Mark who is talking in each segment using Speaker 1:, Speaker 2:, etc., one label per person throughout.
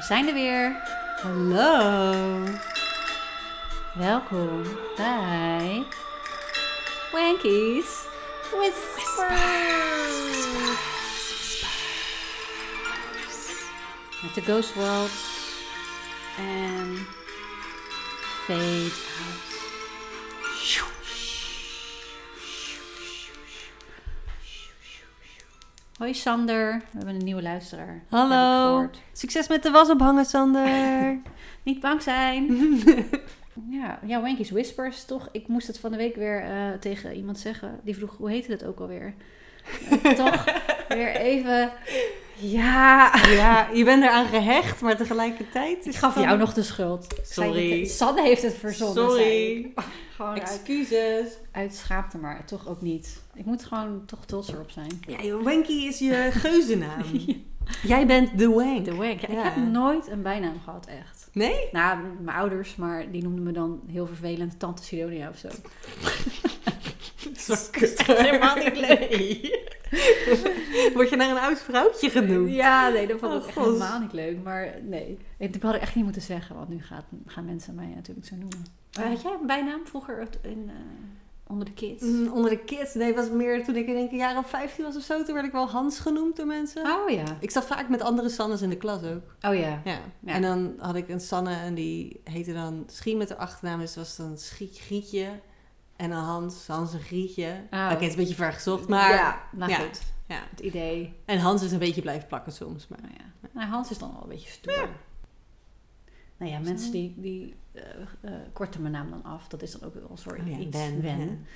Speaker 1: zijn er weer. Hallo. Welkom bij Wankies Whispers. Met de Ghost World en Fade Out. Hoi Sander, we hebben een nieuwe luisteraar. Heb ik
Speaker 2: Hallo.
Speaker 1: gehoord.
Speaker 2: Succes met de was ophangen, Sander.
Speaker 1: Niet bang zijn. ja, ja, Wanky's Whispers toch. Ik moest het van de week weer eh, tegen iemand zeggen. Die vroeg, hoe heette het ook alweer? Eh, toch weer even... Ja.
Speaker 2: ja, je bent eraan gehecht, maar tegelijkertijd is
Speaker 1: Ik gaf
Speaker 2: het dan-
Speaker 1: jou nog de schuld. Ik zei
Speaker 2: Sorry.
Speaker 1: het- Sanne heeft het verzonnen. zei ik.
Speaker 2: Sorry. Oh,
Speaker 1: Gewoon uit,
Speaker 2: Excuses.
Speaker 1: uit schaamte, maar toch ook niet. Ik moet gewoon toch trots erop zijn.
Speaker 2: Ja, joh, Wanky is je geuzennaam. Jij bent de Wank.
Speaker 1: De wank. Ja,
Speaker 2: Ja.
Speaker 1: Ik heb nooit een bijnaam gehad, echt.
Speaker 2: Nee?
Speaker 1: Nou, mijn ouders, maar die noemden me dan heel vervelend Tante Sidonia of zo.
Speaker 2: Dat is helemaal niet leuk. Word je naar een oud vrouwtje genoemd?
Speaker 1: Ja, nee, dat vond ik
Speaker 2: Oh,
Speaker 1: echt
Speaker 2: God.
Speaker 1: helemaal niet leuk. Maar nee, ik had het echt niet moeten zeggen, want nu gaat, gaan mensen mij natuurlijk zo noemen. Maar Eh, had jij een bijnaam vroeger uit- in, eh, onder de kids?
Speaker 2: Mm, onder de kids. Nee, was meer toen ik in een jaar of 15 was of zo. Toen werd ik wel Hans genoemd door mensen.
Speaker 1: Oh ja.
Speaker 2: Ik zat vaak met andere Sannes in de klas ook.
Speaker 1: Oh ja.
Speaker 2: Ja.
Speaker 1: Ja.
Speaker 2: En dan had ik een Sanne en die heette dan Schie met de achternaam. Dus was dan Schie Grietje. En dan Hans, Hans en Grietje.
Speaker 1: Oh.
Speaker 2: Oké, het is een beetje ver gezocht, maar... Ja.
Speaker 1: ja, nou
Speaker 2: ja.
Speaker 1: goed.
Speaker 2: ja.
Speaker 1: Het idee.
Speaker 2: En Hans is een beetje blijven plakken soms. Maar...
Speaker 1: Nou, ja. nou, Hans is dan wel een beetje stoer. Nou ja, mensen die, die eh, eh, korten mijn naam dan af. Dat is dan ook wel een soort
Speaker 2: Oh ja,
Speaker 1: iets
Speaker 2: Ben,
Speaker 1: wen.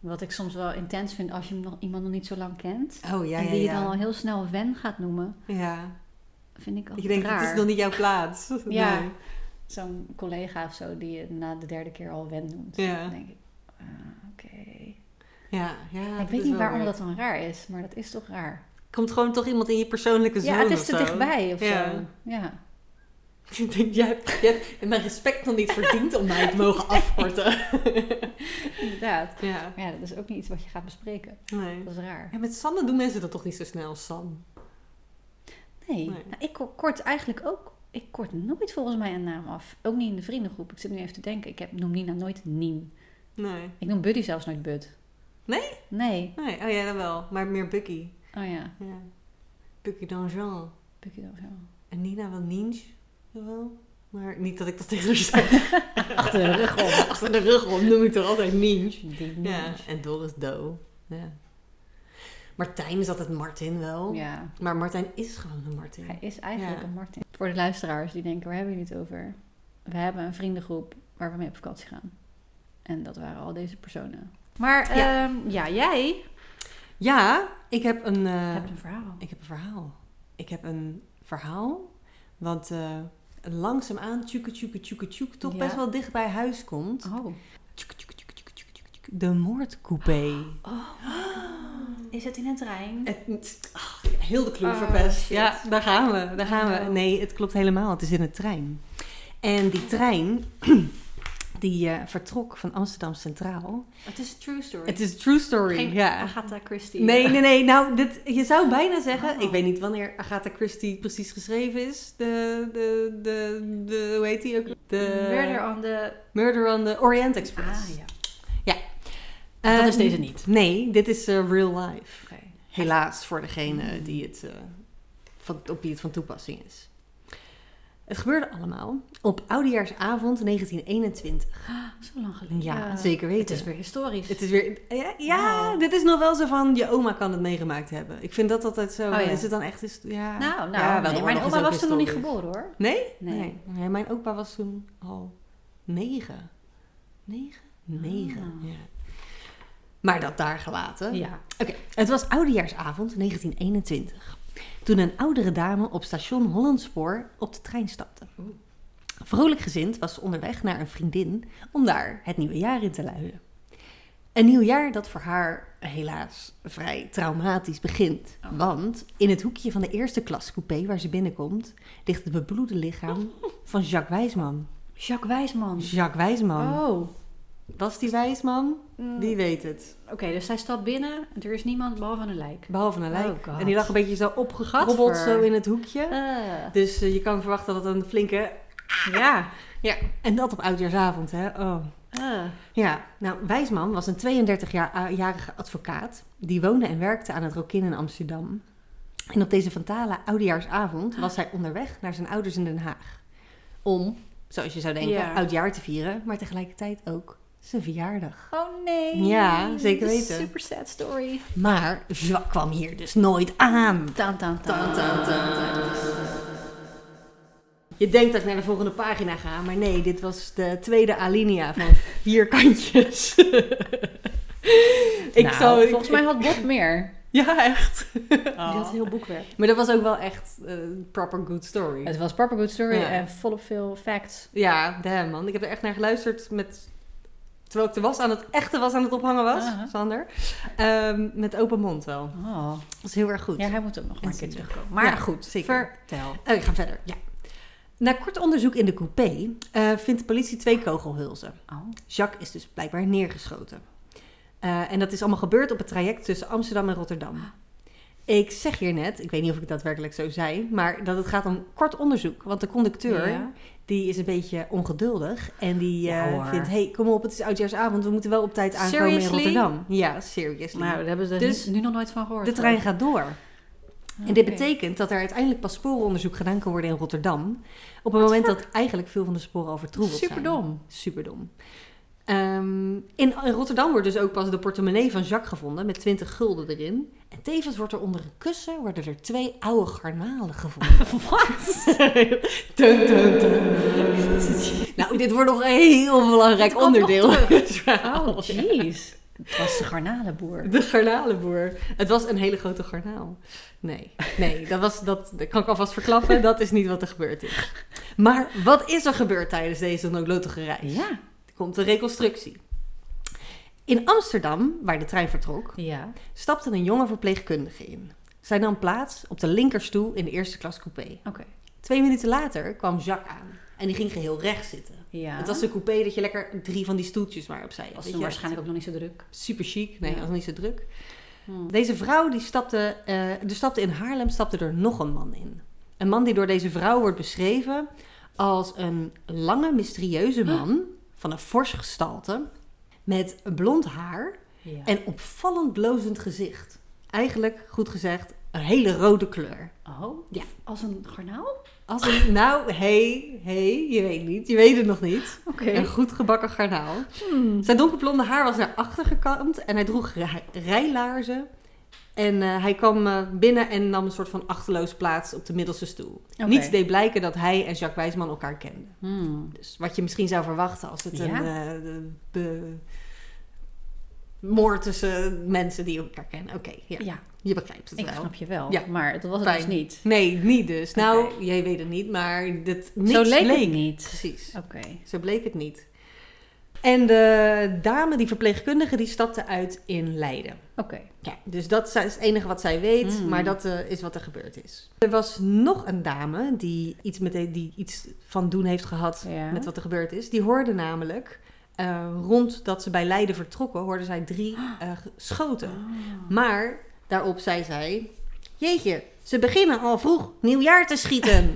Speaker 1: Wat ik soms wel intens vind als je hem nog, iemand nog niet zo lang kent.
Speaker 2: ja. Oh, ja,
Speaker 1: en
Speaker 2: ja,
Speaker 1: die je dan al
Speaker 2: ja.
Speaker 1: heel snel wen gaat noemen.
Speaker 2: ja.
Speaker 1: Vind ik altijd
Speaker 2: Ik denk,
Speaker 1: raar.
Speaker 2: het is nog niet jouw plaats.
Speaker 1: Ja.
Speaker 2: Nee.
Speaker 1: zo'n collega of zo die je na de derde keer al wen noemt.
Speaker 2: Ja.
Speaker 1: Dan denk ik, ah, oké.
Speaker 2: Ja, ja.
Speaker 1: ik
Speaker 2: dat
Speaker 1: weet
Speaker 2: is
Speaker 1: niet
Speaker 2: wel
Speaker 1: waarom
Speaker 2: weird.
Speaker 1: dat dan raar is, maar dat is toch raar.
Speaker 2: Komt gewoon toch iemand in je persoonlijke zone
Speaker 1: ja, het
Speaker 2: of
Speaker 1: is te
Speaker 2: zo.
Speaker 1: dichtbij of
Speaker 2: Ja.
Speaker 1: zo. Ja.
Speaker 2: Ik denk, jij hebt, jij hebt mijn respect nog niet verdiend om mij te mogen afkorten.
Speaker 1: inderdaad.
Speaker 2: Ja.
Speaker 1: Maar ja, dat is ook niet iets wat je gaat bespreken.
Speaker 2: Nee.
Speaker 1: Dat is raar.
Speaker 2: Ja, met Sanne doen mensen dat toch niet zo snel, San?
Speaker 1: Nee,
Speaker 2: Nee.
Speaker 1: Nou, ik ko- kort eigenlijk ook... Ik kort nooit volgens mij een naam af. Ook niet in de vriendengroep. Ik zit nu even te denken. Ik heb, noem Nina nooit Nien.
Speaker 2: Nee.
Speaker 1: Ik noem Buddy zelfs nooit Bud.
Speaker 2: Nee?
Speaker 1: Nee.
Speaker 2: Nee, oh ja, dat wel. Maar meer Bucky.
Speaker 1: Oh ja,
Speaker 2: Ja. Bucky dan Jean.
Speaker 1: Buddy dan zo.
Speaker 2: En Nina wel Ninja. Wel. Maar niet dat ik dat tegen haar zei.
Speaker 1: Achter de rug om.
Speaker 2: Achter de rug om noem ik toch altijd Ninja.
Speaker 1: Die
Speaker 2: Ja.
Speaker 1: Nien.
Speaker 2: En Doris Do. Ja. Martijn is altijd Martin wel.
Speaker 1: ja.
Speaker 2: Maar Martijn is gewoon een Martin.
Speaker 1: Hij is eigenlijk
Speaker 2: Ja.
Speaker 1: een Martin. Voor de luisteraars die denken, waar hebben jullie het over? We hebben een vriendengroep waar we mee op vakantie gaan. En dat waren al deze personen. Maar ehm, ja,
Speaker 2: Ja.
Speaker 1: ja jij
Speaker 2: Ja, ik heb een... eh,
Speaker 1: hebt een verhaal.
Speaker 2: Ik heb een verhaal. Ik heb een verhaal. Want eh, langzaamaan, tjoeke, tjoeke, tjoeke, tjoeke, toch
Speaker 1: Ja.
Speaker 2: best wel dicht bij huis komt.
Speaker 1: Oh.
Speaker 2: Tjoeke, tjoeke, tjoeke, tjoeke, tjoeke, tjoeke, tjoeke. De moordcoupé.
Speaker 1: Is het in het trein?
Speaker 2: Het, ah, heel de clue
Speaker 1: Oh,
Speaker 2: verpest.
Speaker 1: shit.
Speaker 2: Ja, daar gaan we. Daar gaan we. Nee, het klopt helemaal. Het is in de trein. En die trein, die eh, vertrok van Amsterdam Centraal.
Speaker 1: Het is een true story.
Speaker 2: Het is een true story.
Speaker 1: Geen
Speaker 2: ja.
Speaker 1: Agatha Christie.
Speaker 2: Nee, nee, nee. Nou, dit, je zou bijna zeggen...
Speaker 1: Oh.
Speaker 2: Ik weet niet wanneer Agatha Christie precies geschreven is. De, de, de, de hoe heet die ook? De
Speaker 1: Murder on the...
Speaker 2: Murder on the Orient Express.
Speaker 1: Ah, ja.
Speaker 2: Eh,
Speaker 1: Dat is deze niet.
Speaker 2: Nee, dit is eh, real life.
Speaker 1: Oké.
Speaker 2: Helaas voor
Speaker 1: Hmm.
Speaker 2: degene die het, eh, van, op wie het van toepassing is. Het gebeurde allemaal op Oudejaarsavond 1921.
Speaker 1: Ah, Zo lang geleden.
Speaker 2: Ja, zeker weten.
Speaker 1: Het is weer historisch.
Speaker 2: Het is weer. Ja, ja,
Speaker 1: Wow.
Speaker 2: dit is nog wel zo van. Je oma kan het meegemaakt hebben. Ik vind dat altijd zo.
Speaker 1: Oh, ja.
Speaker 2: Is het dan echt. his- Ja.
Speaker 1: Nou, nou,
Speaker 2: Ja, wel, de
Speaker 1: nee,
Speaker 2: oorlog
Speaker 1: mijn
Speaker 2: is
Speaker 1: oma
Speaker 2: ook
Speaker 1: was toen nog niet
Speaker 2: historisch.
Speaker 1: geboren hoor.
Speaker 2: Nee?
Speaker 1: Nee.
Speaker 2: Nee, Mijn opa was toen al negen. Negen? Negen.
Speaker 1: Ah.
Speaker 2: Ja. Maar dat daar gelaten.
Speaker 1: Ja.
Speaker 2: Oké, het was oudejaarsavond 1921. Toen een oudere dame op station Hollandspoor op de trein stapte. Vrolijk gezind was ze onderweg naar een vriendin om daar het nieuwe jaar in te luiden. Een nieuw jaar dat voor haar helaas vrij traumatisch begint.
Speaker 1: Oh.
Speaker 2: Want in het hoekje van de eerste klas coupé waar ze binnenkomt, ligt het bebloede lichaam van Jacques Wijsman.
Speaker 1: Jacques Wijsman.
Speaker 2: Jacques Wijsman.
Speaker 1: Oh.
Speaker 2: Was die wijsman? Die weet het.
Speaker 1: Oké, dus zij stapt binnen. en Er is niemand behalve een lijk.
Speaker 2: Behalve een lijk.
Speaker 1: Oh, God.
Speaker 2: en die lag een beetje zo opgekrabbeld
Speaker 1: Gadver.
Speaker 2: zo in het hoekje.
Speaker 1: Eh,
Speaker 2: Dus eh, je kan verwachten dat het een flinke...
Speaker 1: ja.
Speaker 2: Ja. En dat op oudjaarsavond, hè. Oh.
Speaker 1: Eh,
Speaker 2: Ja, nou, Wijsman was een 32-jarige advocaat. Die woonde en werkte aan het Rokin in Amsterdam. En op deze fatale oudejaarsavond was hij onderweg naar zijn ouders in Den Haag. Om, zoals je zou denken,
Speaker 1: Ja.
Speaker 2: oudjaar te vieren, maar tegelijkertijd ook zijn verjaardag.
Speaker 1: Oh nee.
Speaker 2: Ja, zeker
Speaker 1: Dit is
Speaker 2: weten.
Speaker 1: een Super sad story.
Speaker 2: Maar Jacques kwam hier dus nooit aan.
Speaker 1: Taan, taan, taan.
Speaker 2: Tan, tan, tan, tan. Je denkt dat ik naar de volgende pagina ga, maar nee, dit was de tweede alinea van vierkantjes. ik
Speaker 1: Nou,
Speaker 2: zou,
Speaker 1: volgens mij had Bob meer.
Speaker 2: Ja, echt. Oh.
Speaker 1: Die had heel boekwerk.
Speaker 2: Maar dat was ook wel echt eh, een proper good story.
Speaker 1: Het was proper good story
Speaker 2: Ja.
Speaker 1: en volop veel facts.
Speaker 2: Ja, damn man. Ik heb er echt naar geluisterd met... Terwijl ik de was aan het echte was aan het ophangen was,
Speaker 1: Aha.
Speaker 2: Sander. Ehm, met open mond wel.
Speaker 1: Oh.
Speaker 2: Dat was heel erg goed.
Speaker 1: Ja, hij moet ook nog maar een
Speaker 2: En
Speaker 1: keer
Speaker 2: zielig.
Speaker 1: terugkomen. Maar
Speaker 2: Ja,
Speaker 1: goed,
Speaker 2: zeker.
Speaker 1: vertel.
Speaker 2: Eh, ik ga verder, ja. Na kort onderzoek in de coupé eh, vindt de politie twee kogelhulzen.
Speaker 1: Oh.
Speaker 2: Jacques is dus blijkbaar neergeschoten. Eh, en dat is allemaal gebeurd op het traject tussen Amsterdam en Rotterdam. Ik zeg hier net, ik weet niet of ik daadwerkelijk zo zei, maar dat het gaat om kort onderzoek. Want de conducteur,
Speaker 1: Ja.
Speaker 2: die is een beetje ongeduldig en die
Speaker 1: Ja,
Speaker 2: eh,
Speaker 1: hoor.
Speaker 2: vindt, hey, kom op, het is oudjaarsavond, we moeten wel op tijd aankomen
Speaker 1: Seriously?
Speaker 2: in Rotterdam. Ja, seriously.
Speaker 1: Nou, daar hebben ze
Speaker 2: Dus
Speaker 1: dus nu nog nooit van gehoord.
Speaker 2: De trein gaat door.
Speaker 1: hoor.
Speaker 2: En dit
Speaker 1: Oh, Oké.
Speaker 2: betekent dat er uiteindelijk pas sporenonderzoek gedaan kan worden in Rotterdam. Op het
Speaker 1: Wat
Speaker 2: moment dat eigenlijk veel van de sporen overtroebeld zijn.
Speaker 1: Superdom.
Speaker 2: Superdom. Ehm, in, in Rotterdam wordt dus ook pas de portemonnee van Jacques gevonden met 20 gulden erin. En tevens wordt er onder een kussen worden er twee oude garnalen gevonden. Wat? dun, dun, dun. nou, dit wordt nog een heel belangrijk
Speaker 1: komt nog
Speaker 2: onderdeel.
Speaker 1: terug.
Speaker 2: van het verhaal.
Speaker 1: Oh, jeez. Het was de garnalenboer.
Speaker 2: De garnalenboer. Het was een hele grote garnaal. Nee, nee, dat, was, dat, dat kan ik alvast verklappen. Dat is niet wat er gebeurd is. Maar wat is er gebeurd tijdens deze noodlottige reis?
Speaker 1: Ja.
Speaker 2: Er komt een reconstructie. In Amsterdam, waar de trein vertrok,
Speaker 1: Ja.
Speaker 2: stapte een jonge verpleegkundige in. Zij nam plaats op de linkerstoel in de eerste klas coupé.
Speaker 1: Oké.
Speaker 2: Twee minuten later kwam Jacques aan en die ging geheel recht zitten.
Speaker 1: Ja.
Speaker 2: Het was een coupé dat je lekker drie van die stoeltjes maar opzij had,
Speaker 1: was
Speaker 2: weet
Speaker 1: toen
Speaker 2: je.
Speaker 1: waarschijnlijk ook nog niet zo druk.
Speaker 2: Super chic, nee,
Speaker 1: Ja.
Speaker 2: dat was niet zo druk.
Speaker 1: Hm.
Speaker 2: Deze vrouw die stapte, eh, er stapte in Haarlem stapte er nog een man in. Een man die door deze vrouw wordt beschreven als een lange, mysterieuze man van een fors gestalte. Met blond haar
Speaker 1: Ja.
Speaker 2: en opvallend blozend gezicht. Eigenlijk, goed gezegd, een hele rode kleur.
Speaker 1: Oh?
Speaker 2: Ja.
Speaker 1: Als een garnaal? Oké.
Speaker 2: Als een, nou, hey, hey, je weet niet, je weet het nog niet. Een goed gebakken garnaal.
Speaker 1: Hmm.
Speaker 2: Zijn donkerblonde haar was naar achter gekamd en hij droeg rij- rijlaarzen. En eh, hij kwam eh, binnen en nam een soort van achterloos plaats op de middelste stoel.
Speaker 1: Oké.
Speaker 2: Niets deed blijken dat hij en Jacques Wijsman elkaar kenden.
Speaker 1: Hmm.
Speaker 2: Dus wat je misschien zou verwachten als het
Speaker 1: Ja.
Speaker 2: een eh, de- be- moord tussen mensen die elkaar kennen. Oké, ja,
Speaker 1: Ja,
Speaker 2: je begrijpt het
Speaker 1: ik
Speaker 2: wel.
Speaker 1: snap je wel.
Speaker 2: Ja.
Speaker 1: Maar dat was het
Speaker 2: Fijn.
Speaker 1: dus niet.
Speaker 2: Nee, niet dus.
Speaker 1: Oké.
Speaker 2: Nou, jij weet het niet, maar dit, niks
Speaker 1: zo leek, het niet.
Speaker 2: Precies.
Speaker 1: Oké.
Speaker 2: Zo bleek het niet. En de dame, die verpleegkundige, die stapte uit in Leiden.
Speaker 1: Oké.
Speaker 2: Ja, dus dat is het enige wat zij weet,
Speaker 1: Mm.
Speaker 2: maar dat eh, is wat er gebeurd is. Er was nog een dame die iets, met die iets van doen heeft gehad
Speaker 1: Ja.
Speaker 2: met wat er gebeurd is. Die hoorde namelijk, eh, rond dat ze bij Leiden vertrokken, hoorde zij drie eh,
Speaker 1: Ah.
Speaker 2: schoten.
Speaker 1: Nou,
Speaker 2: Maar daarop zei zij, jeetje, ze beginnen al vroeg nieuwjaar te schieten.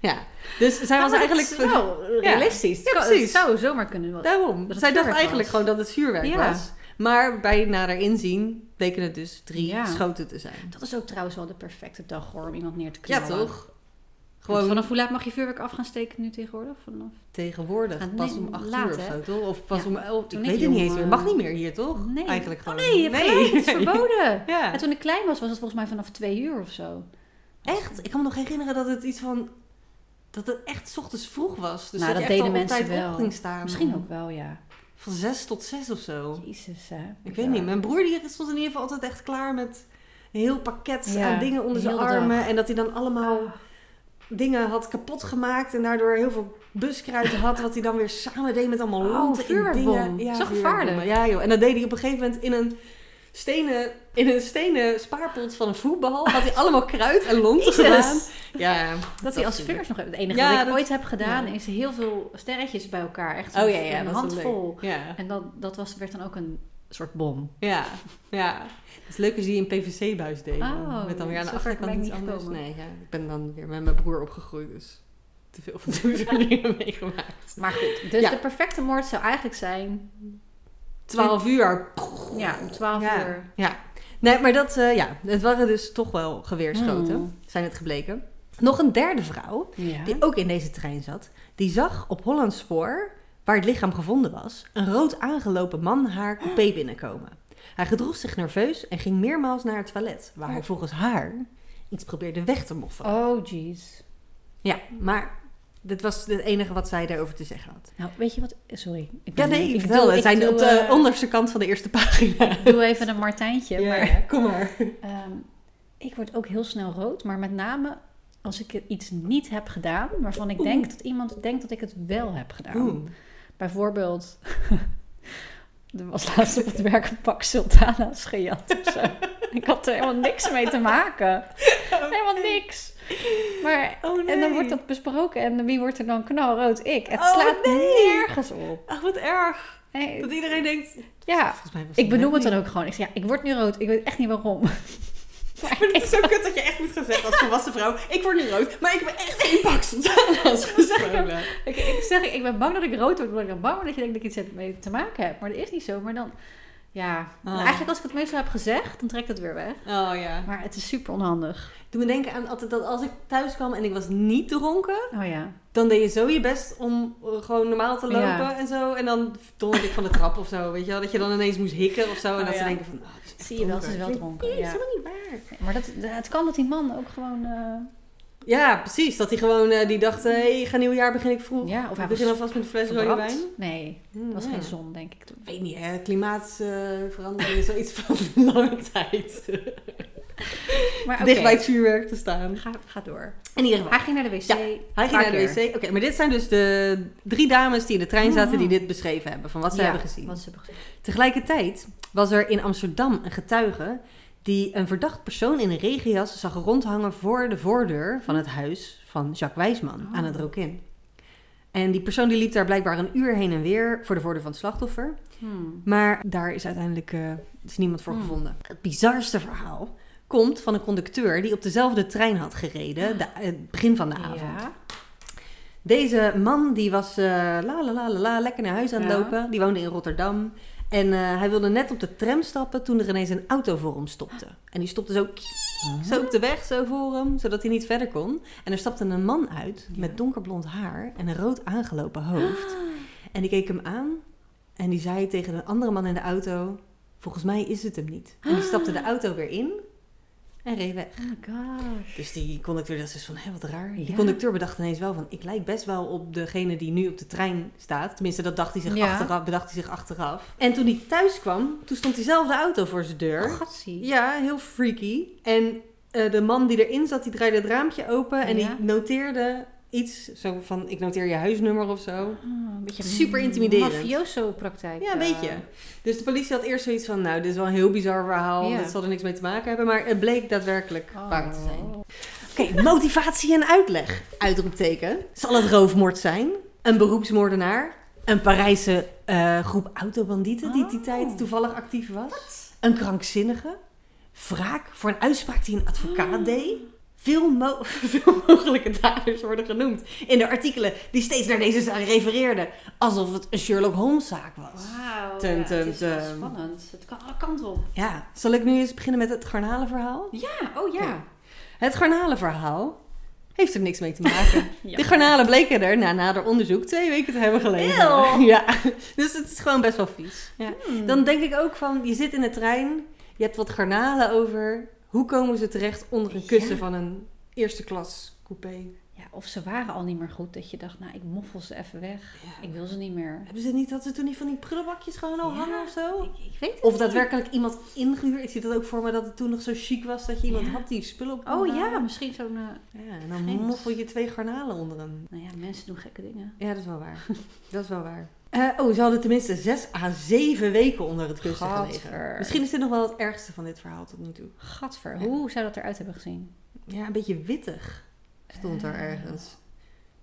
Speaker 2: ja, dus
Speaker 1: Ah,
Speaker 2: zij was eigenlijk...
Speaker 1: wel realistisch.
Speaker 2: Ja,
Speaker 1: Het kan-
Speaker 2: precies.
Speaker 1: Het zou zomaar kunnen. wel-
Speaker 2: Daarom.
Speaker 1: het
Speaker 2: Zij dacht
Speaker 1: vuurwerk
Speaker 2: eigenlijk
Speaker 1: was.
Speaker 2: gewoon dat het vuurwerk
Speaker 1: Ja.
Speaker 2: was. Maar bij nader inzien bleken het dus drie
Speaker 1: Ja.
Speaker 2: schoten te zijn.
Speaker 1: Dat is ook trouwens wel de perfecte dag hoor, om iemand neer te
Speaker 2: Ja,
Speaker 1: knallen.
Speaker 2: toch?
Speaker 1: Gewoon...
Speaker 2: Gewoon
Speaker 1: Vanaf hoe laat mag je vuurwerk af gaan steken nu tegenwoordig? Vanaf...
Speaker 2: tegenwoordig.
Speaker 1: Ah, nee,
Speaker 2: pas om acht
Speaker 1: laat,
Speaker 2: uur of
Speaker 1: hè?
Speaker 2: zo, toch? Of pas
Speaker 1: Ja,
Speaker 2: om elf. Oh, Ik
Speaker 1: toen
Speaker 2: weet
Speaker 1: ik
Speaker 2: het niet
Speaker 1: jong,
Speaker 2: eens meer.
Speaker 1: eh,
Speaker 2: Mag niet meer hier, toch?
Speaker 1: Nee.
Speaker 2: Eigenlijk gewoon.
Speaker 1: Oh nee, je hebt gelijk. Het is verboden.
Speaker 2: Ja.
Speaker 1: En toen ik klein was, was het volgens mij vanaf twee uur of zo.
Speaker 2: Echt? Ik kan me nog herinneren dat het iets van... Dat het echt 's ochtends vroeg was. Dus
Speaker 1: Nou,
Speaker 2: dat,
Speaker 1: dat
Speaker 2: je
Speaker 1: deden
Speaker 2: echt al op
Speaker 1: mensen
Speaker 2: tijd op
Speaker 1: wel.
Speaker 2: ging staan.
Speaker 1: Misschien ook wel, ja.
Speaker 2: Van zes tot zes of zo.
Speaker 1: Jezus, hè.
Speaker 2: Ik weet niet. Mijn broer die stond in ieder geval altijd echt klaar met een heel pakket
Speaker 1: Ja,
Speaker 2: aan dingen onder zijn
Speaker 1: heel de Ah.
Speaker 2: armen. En dat hij dan allemaal dingen had kapot gemaakt. En daardoor heel veel buskruid had. Wat hij dan weer samen deed met allemaal
Speaker 1: Oh,
Speaker 2: lonten in
Speaker 1: vuurbom.
Speaker 2: dingen.
Speaker 1: Zo
Speaker 2: vuurbommen.
Speaker 1: gevaarlijk.
Speaker 2: Ja joh. En dat deed hij op een gegeven moment in een stenen, in een stenen spaarpot van een voetbal had hij allemaal kruid en lonten
Speaker 1: Jezus.
Speaker 2: gedaan. Ja,
Speaker 1: Dat hij als
Speaker 2: natuurlijk.
Speaker 1: vingers nog heeft. Het enige
Speaker 2: Ja,
Speaker 1: wat ik
Speaker 2: dat-
Speaker 1: ooit heb gedaan
Speaker 2: ja.
Speaker 1: is heel veel sterretjes bij elkaar. Echt
Speaker 2: Oh ja, ja,
Speaker 1: een
Speaker 2: dat is wel
Speaker 1: handvol.
Speaker 2: leuk. Ja,
Speaker 1: En dat, dat was, werd dan ook een soort bom.
Speaker 2: ja, ja. Het is leuk als die een PVC-buis deed.
Speaker 1: Oh,
Speaker 2: met dan weer aan de
Speaker 1: zover ben
Speaker 2: achterkant
Speaker 1: ik
Speaker 2: iets
Speaker 1: niet
Speaker 2: anders.
Speaker 1: gekomen.
Speaker 2: Nee, ja, ik ben dan weer met mijn broer opgegroeid, dus te veel van toen zijn dingen meegemaakt.
Speaker 1: Maar goed, dus
Speaker 2: Ja.
Speaker 1: de perfecte moord zou eigenlijk zijn...
Speaker 2: Twaalf uur.
Speaker 1: Ja, om 12
Speaker 2: Ja.
Speaker 1: uur.
Speaker 2: Ja, nee, maar dat, eh, ja, het waren dus toch wel geweerschoten,
Speaker 1: Hmm.
Speaker 2: zijn het gebleken. Nog een derde vrouw,
Speaker 1: Ja.
Speaker 2: die ook in deze trein zat, die zag op Hollands spoor, waar het lichaam gevonden was, een rood aangelopen man haar coupé binnenkomen. Hij gedroeg zich nerveus en ging meermaals naar het toilet, waar hij volgens haar iets probeerde weg te moffen.
Speaker 1: Oh, jeez.
Speaker 2: Ja, maar dit was het enige wat zij daarover te zeggen had.
Speaker 1: Nou, weet je wat? Sorry. Ik ben-
Speaker 2: Ja, nee, ik
Speaker 1: doe-
Speaker 2: vertel het. Zijn
Speaker 1: doe,
Speaker 2: op de
Speaker 1: eh,
Speaker 2: onderste kant van de eerste pagina.
Speaker 1: Ik doe even een Martijntje. Maar
Speaker 2: kom maar.
Speaker 1: Ehm, ik word ook heel snel rood, maar met name als ik iets niet heb gedaan, waarvan ik denk dat iemand denkt dat ik het wel heb gedaan.
Speaker 2: Oeh.
Speaker 1: Bijvoorbeeld, er was laatst op het werk een pak sultana's gejat of zo. Ik had er helemaal niks mee te maken. Helemaal niks. Maar,
Speaker 2: Oh,
Speaker 1: En dan
Speaker 2: nee.
Speaker 1: wordt dat besproken en wie wordt er dan knalrood? Ik. Het
Speaker 2: Oh,
Speaker 1: slaat
Speaker 2: nee.
Speaker 1: nergens op.
Speaker 2: Ach, Oh, wat erg.
Speaker 1: Nee,
Speaker 2: Dat iedereen denkt...
Speaker 1: ja,
Speaker 2: Volgens mij was
Speaker 1: ik benoem het dan ook gewoon. Ik zeg, ja, ik word nu rood. Ik weet echt niet waarom.
Speaker 2: Maar het is zo kut dat je echt moet gaan zeggen als volwassen vrouw... Ik word nu rood, maar ik heb echt één pak sultana's gestolen.
Speaker 1: Ik, ik zeg, ik ben bang dat ik rood word, omdat ik dan bang ben dat je denkt dat ik iets heb- mee te maken heb. Maar dat is niet zo. Maar dan, ja.
Speaker 2: Oh.
Speaker 1: Eigenlijk als ik het meestal heb gezegd, dan trekt het weer weg.
Speaker 2: Oh ja.
Speaker 1: Maar het is super onhandig.
Speaker 2: Doe me denken aan altijd dat als ik thuis kwam en ik was niet dronken...
Speaker 1: Oh ja.
Speaker 2: Dan deed je zo je best om eh, gewoon normaal te lopen
Speaker 1: Ja.
Speaker 2: en zo. En dan donderde ik van de trap of zo, weet je wel. Dat je dan ineens moest hikken of zo. En
Speaker 1: Oh,
Speaker 2: dat ze
Speaker 1: ja.
Speaker 2: denken van... Oh, die is echt
Speaker 1: Zie je wel, ze is wel dronken,
Speaker 2: Nee,
Speaker 1: ja.
Speaker 2: dat is helemaal niet waar.
Speaker 1: Maar dat, het kan dat die man ook gewoon... eh,
Speaker 2: Ja, precies. Dat hij gewoon eh, die dacht, hé, hey, ga nieuwjaar begin ik vroeg.
Speaker 1: ja, of
Speaker 2: Of
Speaker 1: hij
Speaker 2: hij begin
Speaker 1: was
Speaker 2: alvast met een fles rode wijn.
Speaker 1: verbrand. Nee, dat was geen zon, denk ik toen.
Speaker 2: Ik weet niet, hè. Klimaatverandering is zoiets van lange tijd.
Speaker 1: Maar oké,
Speaker 2: Dicht bij het vuurwerk te staan.
Speaker 1: ga, ga door.
Speaker 2: In ieder geval.
Speaker 1: Hij ging naar de wc.
Speaker 2: Ja, Hij ging
Speaker 1: Paar
Speaker 2: naar de wc.
Speaker 1: keer.
Speaker 2: Oké, maar dit zijn dus de drie dames die in de trein zaten die
Speaker 1: Mhm.
Speaker 2: dit beschreven hebben. Van wat ze
Speaker 1: Ja,
Speaker 2: hebben gezien.
Speaker 1: Wat ze hebben gezien.
Speaker 2: Tegelijkertijd was er in Amsterdam een getuige die een verdacht persoon in een regenjas zag rondhangen voor de voordeur van het huis van Jacques Wijsman
Speaker 1: Oh.
Speaker 2: aan het Rokin. En die persoon die liep daar blijkbaar een uur heen en weer voor de voordeur van het slachtoffer.
Speaker 1: Hmm.
Speaker 2: Maar daar is uiteindelijk eh, is niemand voor
Speaker 1: Hmm.
Speaker 2: gevonden. Het bizarste verhaal komt van een conducteur die op dezelfde trein had gereden, de- eh, het begin van de avond.
Speaker 1: Ah. Ja.
Speaker 2: Deze man die was eh, la la la la la lekker naar huis aan het
Speaker 1: Ja.
Speaker 2: lopen. Die woonde in Rotterdam. En eh, hij wilde net op de tram stappen toen er ineens een auto voor hem stopte. En die stopte zo, kiek, zo op de weg, zo voor hem, zodat hij niet verder kon. En er stapte een man uit met donkerblond haar en een rood aangelopen hoofd. En die keek hem aan en die zei tegen een andere man in de auto, volgens mij is het hem niet. En die stapte de auto weer in en reed weg.
Speaker 1: Oh my gosh.
Speaker 2: Dus die conducteur dacht dus van, hé, wat raar. Die
Speaker 1: Ja.
Speaker 2: conducteur bedacht ineens wel van, ik lijk best wel op degene die nu op de trein staat. Tenminste, dat dacht hij zich
Speaker 1: Ja.
Speaker 2: achteraf, bedacht hij zich achteraf. En toen hij thuis kwam, toen stond diezelfde auto voor zijn deur.
Speaker 1: Gatsie.
Speaker 2: Ja, heel freaky. En eh, de man die erin zat, die draaide het raampje open en
Speaker 1: Ja.
Speaker 2: die noteerde iets. Zo van, ik noteer je huisnummer of zo.
Speaker 1: Ah, een beetje
Speaker 2: Super intimiderend.
Speaker 1: Mafioso-praktijk.
Speaker 2: Ja, een
Speaker 1: eh,
Speaker 2: beetje. Dus de politie had eerst zoiets van, nou, dit is wel een heel bizar verhaal.
Speaker 1: Ja.
Speaker 2: Dit zal er niks mee te maken hebben. Maar het bleek daadwerkelijk
Speaker 1: oh.
Speaker 2: waar te zijn. Oké, motivatie en uitleg. Uitroepteken. Zal het roofmoord zijn? Een beroepsmoordenaar? Een Parijse eh, groep autobandieten die die
Speaker 1: Oh.
Speaker 2: tijd toevallig actief was? Een krankzinnige? Wraak voor een uitspraak die een advocaat
Speaker 1: Oh.
Speaker 2: deed? Veel, mo- veel mogelijke daders worden genoemd in de artikelen die steeds naar deze zaak refereerden. Alsof het een Sherlock Holmes-zaak was.
Speaker 1: Wauw,
Speaker 2: Tum,
Speaker 1: ja,
Speaker 2: tum,
Speaker 1: het is wel
Speaker 2: tum.
Speaker 1: spannend. Het kan alle kanten op.
Speaker 2: Ja, zal ik nu eens beginnen met het garnalenverhaal?
Speaker 1: Ja, oh ja.
Speaker 2: Het garnalenverhaal heeft er niks mee te maken.
Speaker 1: Ja.
Speaker 2: De garnalen bleken er na nader onderzoek twee weken te hebben gelegen.
Speaker 1: Eeuw.
Speaker 2: Ja, dus het is gewoon best wel vies. Ja.
Speaker 1: Hm. Hmm.
Speaker 2: Dan denk ik ook van, je zit in de trein, je hebt wat garnalen over. Hoe komen ze terecht onder een kussen
Speaker 1: Ja.
Speaker 2: van een eerste klas coupé?
Speaker 1: Ja, of ze waren al niet meer goed, dat je dacht, nou, ik moffel ze even weg.
Speaker 2: Ja.
Speaker 1: Ik wil ze niet meer.
Speaker 2: Hebben ze niet, dat ze toen niet van die prullenbakjes gewoon al
Speaker 1: Ja.
Speaker 2: hangen of zo?
Speaker 1: Ik, ik weet het
Speaker 2: Of
Speaker 1: niet.
Speaker 2: daadwerkelijk iemand ingehuurd. Ik zie dat ook voor me dat het toen nog zo chic was dat je iemand
Speaker 1: Ja.
Speaker 2: had die spullen op kon
Speaker 1: Oh ja,
Speaker 2: halen.
Speaker 1: misschien zo'n... eh,
Speaker 2: ja. En dan
Speaker 1: Vreemd.
Speaker 2: moffel je twee garnalen onder een
Speaker 1: nou ja, mensen doen gekke dingen.
Speaker 2: Ja, dat is wel waar. dat is wel waar. Eh, oh, ze hadden tenminste zes à zeven weken onder het kussen
Speaker 1: Gadver.
Speaker 2: gelegen. Misschien is dit nog wel het ergste van dit verhaal tot nu toe.
Speaker 1: Gadver,
Speaker 2: Ja.
Speaker 1: hoe zou dat eruit hebben gezien?
Speaker 2: Ja, een beetje wittig stond
Speaker 1: Eh.
Speaker 2: er ergens.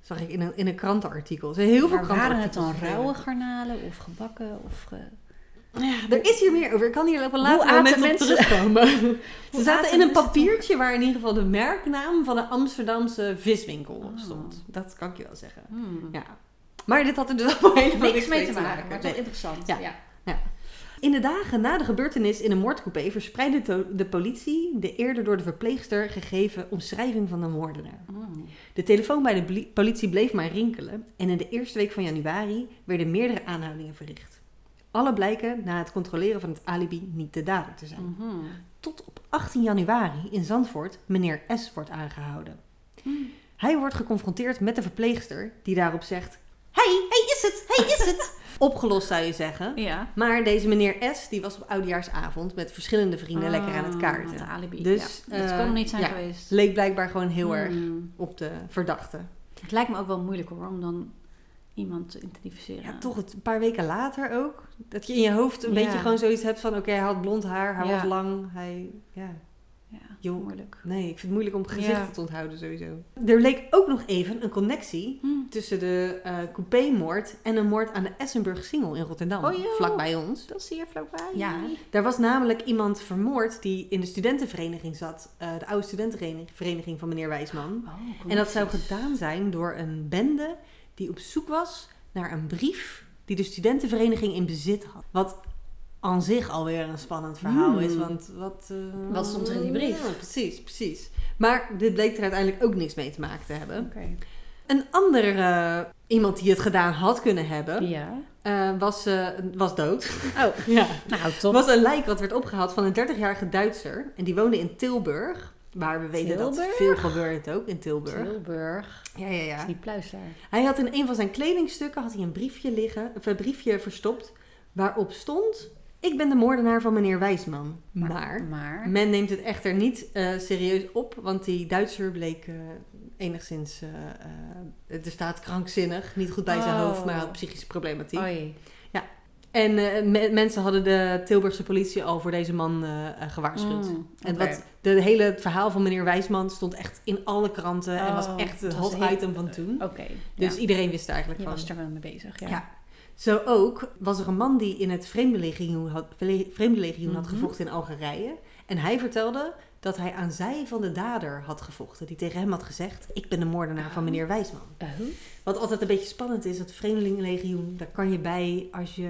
Speaker 2: Zag ik in een, in een krantenartikel. Er zijn heel veel
Speaker 1: Maar waren het
Speaker 2: krantenartikels.
Speaker 1: dan
Speaker 2: verschenen.
Speaker 1: rauwe garnalen of gebakken? Of ge-
Speaker 2: Ja, er is hier meer over. Ik kan hier op een
Speaker 1: Hoe
Speaker 2: later
Speaker 1: aten
Speaker 2: moment op
Speaker 1: mensen-
Speaker 2: terugkomen. Ze
Speaker 1: Hoe
Speaker 2: zaten
Speaker 1: aten
Speaker 2: in een
Speaker 1: mensen
Speaker 2: papiertje waar in ieder geval de merknaam van de Amsterdamse viswinkel
Speaker 1: Oh.
Speaker 2: op stond. Dat kan ik je wel zeggen.
Speaker 1: Hmm.
Speaker 2: Ja. Maar dit had er dus allemaal helemaal
Speaker 1: Niks, mee te maken, maar
Speaker 2: Nee.
Speaker 1: toch interessant.
Speaker 2: Ja.
Speaker 1: Ja.
Speaker 2: In de dagen na de gebeurtenis in een moordcoupé verspreidde to- de politie de eerder door de verpleegster gegeven omschrijving van de moordenaar.
Speaker 1: Hmm.
Speaker 2: De telefoon bij de bli- politie bleef maar rinkelen en in de eerste week van januari werden meerdere aanhoudingen verricht. Alle blijken na het controleren van het alibi niet de dader te zijn.
Speaker 1: Mhm.
Speaker 2: Tot op 18 januari in Zandvoort meneer S. wordt aangehouden.
Speaker 1: Hmm.
Speaker 2: Hij wordt geconfronteerd met de verpleegster die daarop zegt... Hey, hey is het, hey is het. Opgelost zou je zeggen.
Speaker 1: Ja.
Speaker 2: Maar deze meneer S. die was op oudejaarsavond met verschillende vrienden lekker aan het
Speaker 1: Ah, het
Speaker 2: kaarten.
Speaker 1: alibi.
Speaker 2: Dus,
Speaker 1: Dus, dat
Speaker 2: eh,
Speaker 1: kon niet zijn
Speaker 2: ja.
Speaker 1: geweest.
Speaker 2: Leek blijkbaar gewoon heel erg
Speaker 1: Hmm.
Speaker 2: op de verdachte.
Speaker 1: Het lijkt me ook wel moeilijk hoor, om dan iemand te identificeren.
Speaker 2: Ja, toch het- een paar weken later ook. Dat je in je hoofd een
Speaker 1: Ja.
Speaker 2: beetje gewoon zoiets hebt van... Oké, hij had blond haar, hij
Speaker 1: Ja.
Speaker 2: was lang, hij... Ja.
Speaker 1: Ja,
Speaker 2: Joh.
Speaker 1: moeilijk.
Speaker 2: Nee, ik vind het moeilijk om gezichten
Speaker 1: Ja.
Speaker 2: te onthouden sowieso. Er leek ook nog even een connectie
Speaker 1: Hmm.
Speaker 2: tussen de eh coupé-moord en een moord aan de Essenburg Singel in Rotterdam,
Speaker 1: Oh, joh.
Speaker 2: vlakbij ons.
Speaker 1: Dat zie je vlakbij.
Speaker 2: Ja. Daar was namelijk iemand vermoord die in de studentenvereniging zat, eh, de oude studentenvereniging van meneer Wijsman.
Speaker 1: Oh,
Speaker 2: En dat zou gedaan zijn door een bende die op zoek was naar een brief die de studentenvereniging in bezit had. Wat aan zich alweer een spannend verhaal
Speaker 1: Hmm.
Speaker 2: is, want wat... eh,
Speaker 1: Wat stond er in die brief?
Speaker 2: ja, precies, precies. Maar dit bleek er uiteindelijk ook niks mee te maken te hebben.
Speaker 1: Oké.
Speaker 2: Een andere eh, iemand die het gedaan had kunnen hebben,
Speaker 1: Ja.
Speaker 2: eh, was, eh, was dood.
Speaker 1: Oh,
Speaker 2: Ja.
Speaker 1: nou
Speaker 2: Er
Speaker 1: top.
Speaker 2: was een lijk dat werd opgehaald van een 30-jarige Duitser. En die woonde in Tilburg. Waar we weten dat
Speaker 1: Tilburg?
Speaker 2: veel gebeurt ook in Tilburg.
Speaker 1: Tilburg.
Speaker 2: Ja, ja,
Speaker 1: Dat
Speaker 2: ja.
Speaker 1: is die pluislaar.
Speaker 2: Hij had in een van zijn kledingstukken had hij een briefje, liggen, of een briefje verstopt. Waarop stond: Ik ben de moordenaar van meneer Wijsman. Maar
Speaker 1: Maar.
Speaker 2: men neemt het echter niet eh, serieus op, want die Duitser bleek eh, enigszins, eh, eh, er staat krankzinnig, niet goed bij zijn
Speaker 1: Oh.
Speaker 2: hoofd, maar had psychische problematiek.
Speaker 1: Oei.
Speaker 2: En eh, me- mensen hadden de Tilburgse politie al voor deze man eh, eh, gewaarschuwd.
Speaker 1: Mm,
Speaker 2: En
Speaker 1: oké.
Speaker 2: wat, de hele het verhaal van meneer Wijsman stond echt in alle kranten en was
Speaker 1: Oh,
Speaker 2: echt het
Speaker 1: het
Speaker 2: hot
Speaker 1: was heel-
Speaker 2: item van toen.
Speaker 1: Oké.
Speaker 2: Dus
Speaker 1: ja.
Speaker 2: iedereen wist er eigenlijk
Speaker 1: Je
Speaker 2: van.
Speaker 1: was er wel mee bezig. Ja.
Speaker 2: Ja. Zo ook was er een man die in het vreemdelegioen had, vle- vreemdelegioen had
Speaker 1: Mhm.
Speaker 2: gevochten in Algerije. En hij vertelde dat hij aan zij van de dader had gevochten. Die tegen hem had gezegd, ik ben de moordenaar van meneer Wijsman.
Speaker 1: Oh.
Speaker 2: Wat altijd een beetje spannend is, het vreemdelingenlegioen, daar kan je bij als je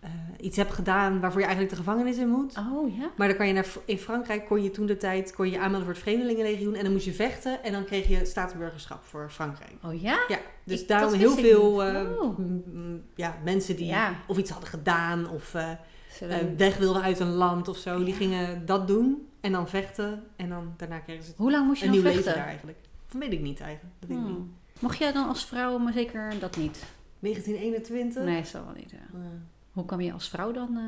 Speaker 2: eh, iets hebt gedaan waarvoor je eigenlijk de gevangenis in moet.
Speaker 1: Oh ja.
Speaker 2: Maar dan kan je naar, in Frankrijk kon je toen de tijd kon je aanmelden voor het Vreemdelingenlegioen. En dan moest je vechten en dan kreeg je staatsburgerschap voor Frankrijk.
Speaker 1: Oh ja.
Speaker 2: Ja, dus
Speaker 1: Ik-
Speaker 2: daarom
Speaker 1: dat
Speaker 2: heel
Speaker 1: wist ik
Speaker 2: veel
Speaker 1: niet.
Speaker 2: eh,
Speaker 1: Oh.
Speaker 2: m- m- ja, mensen die
Speaker 1: Ja.
Speaker 2: of iets hadden gedaan of eh,
Speaker 1: Zullen
Speaker 2: eh,
Speaker 1: we-
Speaker 2: weg wilden uit een land of zo. Die
Speaker 1: Ja.
Speaker 2: gingen dat doen en dan vechten en dan daarna kregen ze
Speaker 1: Hoe lang moest je
Speaker 2: een
Speaker 1: dan
Speaker 2: nieuw
Speaker 1: vluchten?
Speaker 2: leven daar eigenlijk. Dat weet ik niet eigenlijk. Dat weet ik niet.
Speaker 1: Hmm. Mocht jij dan als vrouw, maar zeker dat niet?
Speaker 2: 1921?
Speaker 1: Nee, dat zal wel niet. ja.
Speaker 2: Eh,
Speaker 1: Hoe kwam je als vrouw dan? eh,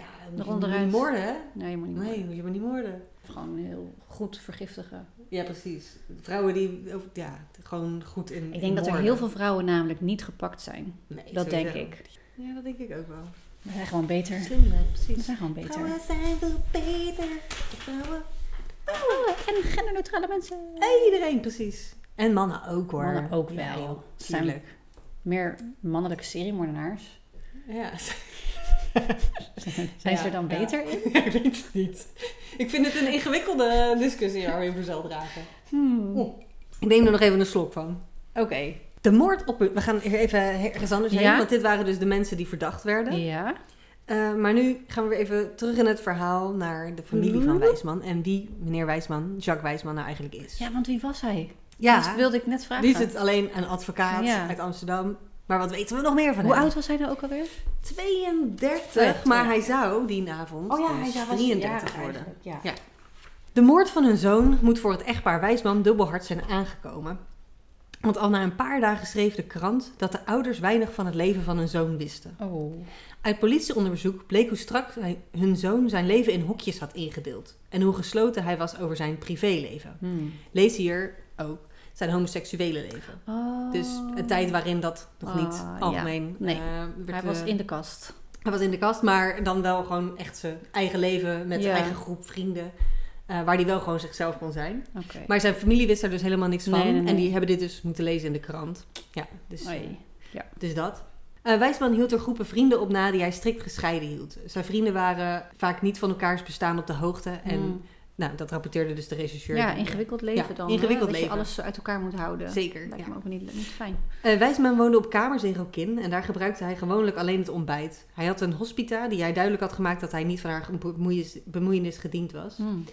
Speaker 2: ja,
Speaker 1: Nog
Speaker 2: je moet je
Speaker 1: onderuit.
Speaker 2: niet moorden hè?
Speaker 1: Nee, je moet niet
Speaker 2: Nee,
Speaker 1: meer.
Speaker 2: moet je maar niet moorden.
Speaker 1: Gewoon heel goed vergiftigen.
Speaker 2: Ja, precies. Vrouwen die, of, ja, gewoon goed in
Speaker 1: Ik denk dat er heel veel vrouwen namelijk niet gepakt zijn. dat denk ik.
Speaker 2: Ja, dat denk ik ook wel.
Speaker 1: We zijn gewoon beter.
Speaker 2: Slim, hè?
Speaker 1: We
Speaker 2: precies.
Speaker 1: zijn gewoon beter.
Speaker 2: Vrouwen zijn veel beter. Vrouwen
Speaker 1: Vrouwen en genderneutrale mensen.
Speaker 2: Hey, iedereen, precies. En mannen ook hoor.
Speaker 1: Mannen ook wel.
Speaker 2: Ja, joh,
Speaker 1: Het zijn-
Speaker 2: tuurlijk.
Speaker 1: Meer mannelijke seriemoordenaars.
Speaker 2: Ja.
Speaker 1: Zijn
Speaker 2: Ja,
Speaker 1: ze er dan
Speaker 2: ja.
Speaker 1: beter in?
Speaker 2: ik weet het niet. Ik vind het een ingewikkelde discussie waar we over zal dragen.
Speaker 1: Hmm.
Speaker 2: Oeh. Ik neem er nog even een slok van.
Speaker 1: Oké.
Speaker 2: De moord op... We gaan hier even ergens anders heen,
Speaker 1: Ja?
Speaker 2: want dit waren dus de mensen die verdacht werden.
Speaker 1: Ja.
Speaker 2: Eh, maar nu gaan we weer even terug in het verhaal naar de familie van Wijsman. En wie meneer Wijsman, Jacques Wijsman, nou eigenlijk is.
Speaker 1: Ja, want wie was hij?
Speaker 2: Ja,
Speaker 1: Dat wilde ik net vragen.
Speaker 2: nu is het alleen een advocaat
Speaker 1: Ja.
Speaker 2: uit Amsterdam. Maar wat weten we nog meer van
Speaker 1: Hoe
Speaker 2: hem?
Speaker 1: oud was hij nou ook alweer?
Speaker 2: 32,
Speaker 1: Ja,
Speaker 2: maar
Speaker 1: ja. Oh
Speaker 2: hij zou die avond dus 33 worden.
Speaker 1: Ja.
Speaker 2: Ja. De moord van hun zoon moet voor het echtpaar Wijsman dubbelhard zijn aangekomen. Want al na een paar dagen schreef de krant dat de ouders weinig van het leven van hun zoon wisten.
Speaker 1: Oh.
Speaker 2: Uit politieonderzoek bleek hoe strak hij- hun zoon zijn leven in hokjes had ingedeeld. En hoe gesloten hij was over zijn privéleven.
Speaker 1: Hmm.
Speaker 2: Lees hier ook. zijn homoseksuele leven.
Speaker 1: Oh.
Speaker 2: Dus een tijd waarin dat nog niet
Speaker 1: Ah, ja.
Speaker 2: algemeen
Speaker 1: Nee.
Speaker 2: eh, werd,
Speaker 1: Hij was
Speaker 2: eh,
Speaker 1: in de kast.
Speaker 2: hij was in de kast, maar dan wel gewoon echt zijn eigen leven met zijn
Speaker 1: Ja.
Speaker 2: eigen groep vrienden. eh, waar die wel gewoon zichzelf kon zijn.
Speaker 1: Oké.
Speaker 2: Maar zijn familie wist daar dus helemaal niks van.
Speaker 1: Nee, nee,
Speaker 2: En
Speaker 1: nee.
Speaker 2: die hebben dit dus moeten lezen in de krant. Ja, dus, eh,
Speaker 1: Oei.
Speaker 2: dus dat. Eh, Wijsman hield er groepen vrienden op na die hij strikt gescheiden hield. Zijn vrienden waren vaak niet van elkaars bestaan op de hoogte. En
Speaker 1: Mm.
Speaker 2: nou, dat rapporteerde dus de regisseur.
Speaker 1: ja,
Speaker 2: Die-
Speaker 1: ingewikkeld leven
Speaker 2: Ja,
Speaker 1: dan.
Speaker 2: ingewikkeld
Speaker 1: hè? Dat
Speaker 2: leven.
Speaker 1: je alles uit elkaar moet houden.
Speaker 2: Zeker,
Speaker 1: Lijkt
Speaker 2: ja.
Speaker 1: me ook niet, niet fijn.
Speaker 2: Eh, Wijsman woonde op kamers in Rokin en daar gebruikte hij gewoonlijk alleen het ontbijt. Hij had een hospita die hij duidelijk had gemaakt dat hij niet van haar bemoeienis, bemoeienis gediend was.
Speaker 1: Mm.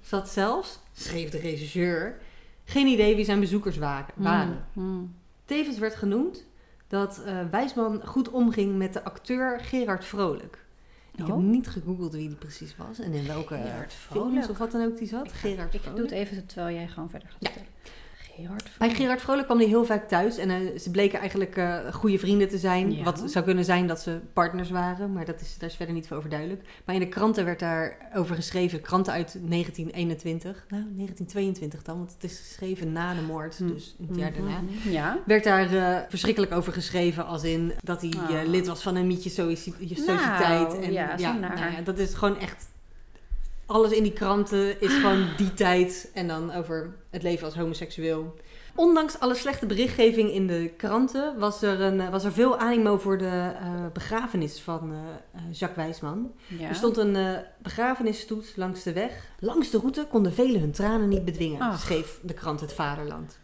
Speaker 2: Zat zelfs, schreef de regisseur, geen idee wie zijn bezoekers wa- waren.
Speaker 1: Mm.
Speaker 2: Tevens werd genoemd dat eh, Wijsman goed omging met de acteur Gerard Vrolijk. Ik heb
Speaker 1: Oh.
Speaker 2: niet gegoogeld wie die precies was en in welke eh,
Speaker 1: Gerard
Speaker 2: films
Speaker 1: Vrolijk.
Speaker 2: of wat dan ook die zat.
Speaker 1: Ik ga-
Speaker 2: Gerard
Speaker 1: Ik
Speaker 2: Vrolijk.
Speaker 1: doe het even terwijl jij gewoon verder gaat
Speaker 2: Ja.
Speaker 1: vertellen. Gerard van-
Speaker 2: Bij Gerard Vrolijk kwam hij heel vaak thuis en eh, ze bleken eigenlijk eh, goede vrienden te zijn.
Speaker 1: Ja.
Speaker 2: Wat zou kunnen zijn dat ze partners waren, maar dat is, daar is verder niet voor over duidelijk. Maar in de kranten werd daarover geschreven, kranten uit 1921, nou 1922 dan, want het is geschreven na de moord,
Speaker 1: Hm.
Speaker 2: dus het jaar daarna.
Speaker 1: Mhm. Ja.
Speaker 2: Werd daar eh, verschrikkelijk over geschreven, als in dat hij eh,
Speaker 1: Ah.
Speaker 2: lid was van een mietje soci- je
Speaker 1: Nou,
Speaker 2: sociëteit. en,
Speaker 1: ja, zo naar.
Speaker 2: nou ja, dat is gewoon echt. Alles in die kranten is gewoon die tijd. En dan over het leven als homoseksueel. Ondanks alle slechte berichtgeving in de kranten was er, een, eh, was er veel animo voor de eh, begrafenis van eh, eh, Jacques Wijsman.
Speaker 1: ja.
Speaker 2: Er stond een eh, begrafenisstoet langs de weg. Langs de route konden velen hun tranen niet bedwingen,
Speaker 1: Ach.
Speaker 2: schreef de krant Het Vaderland.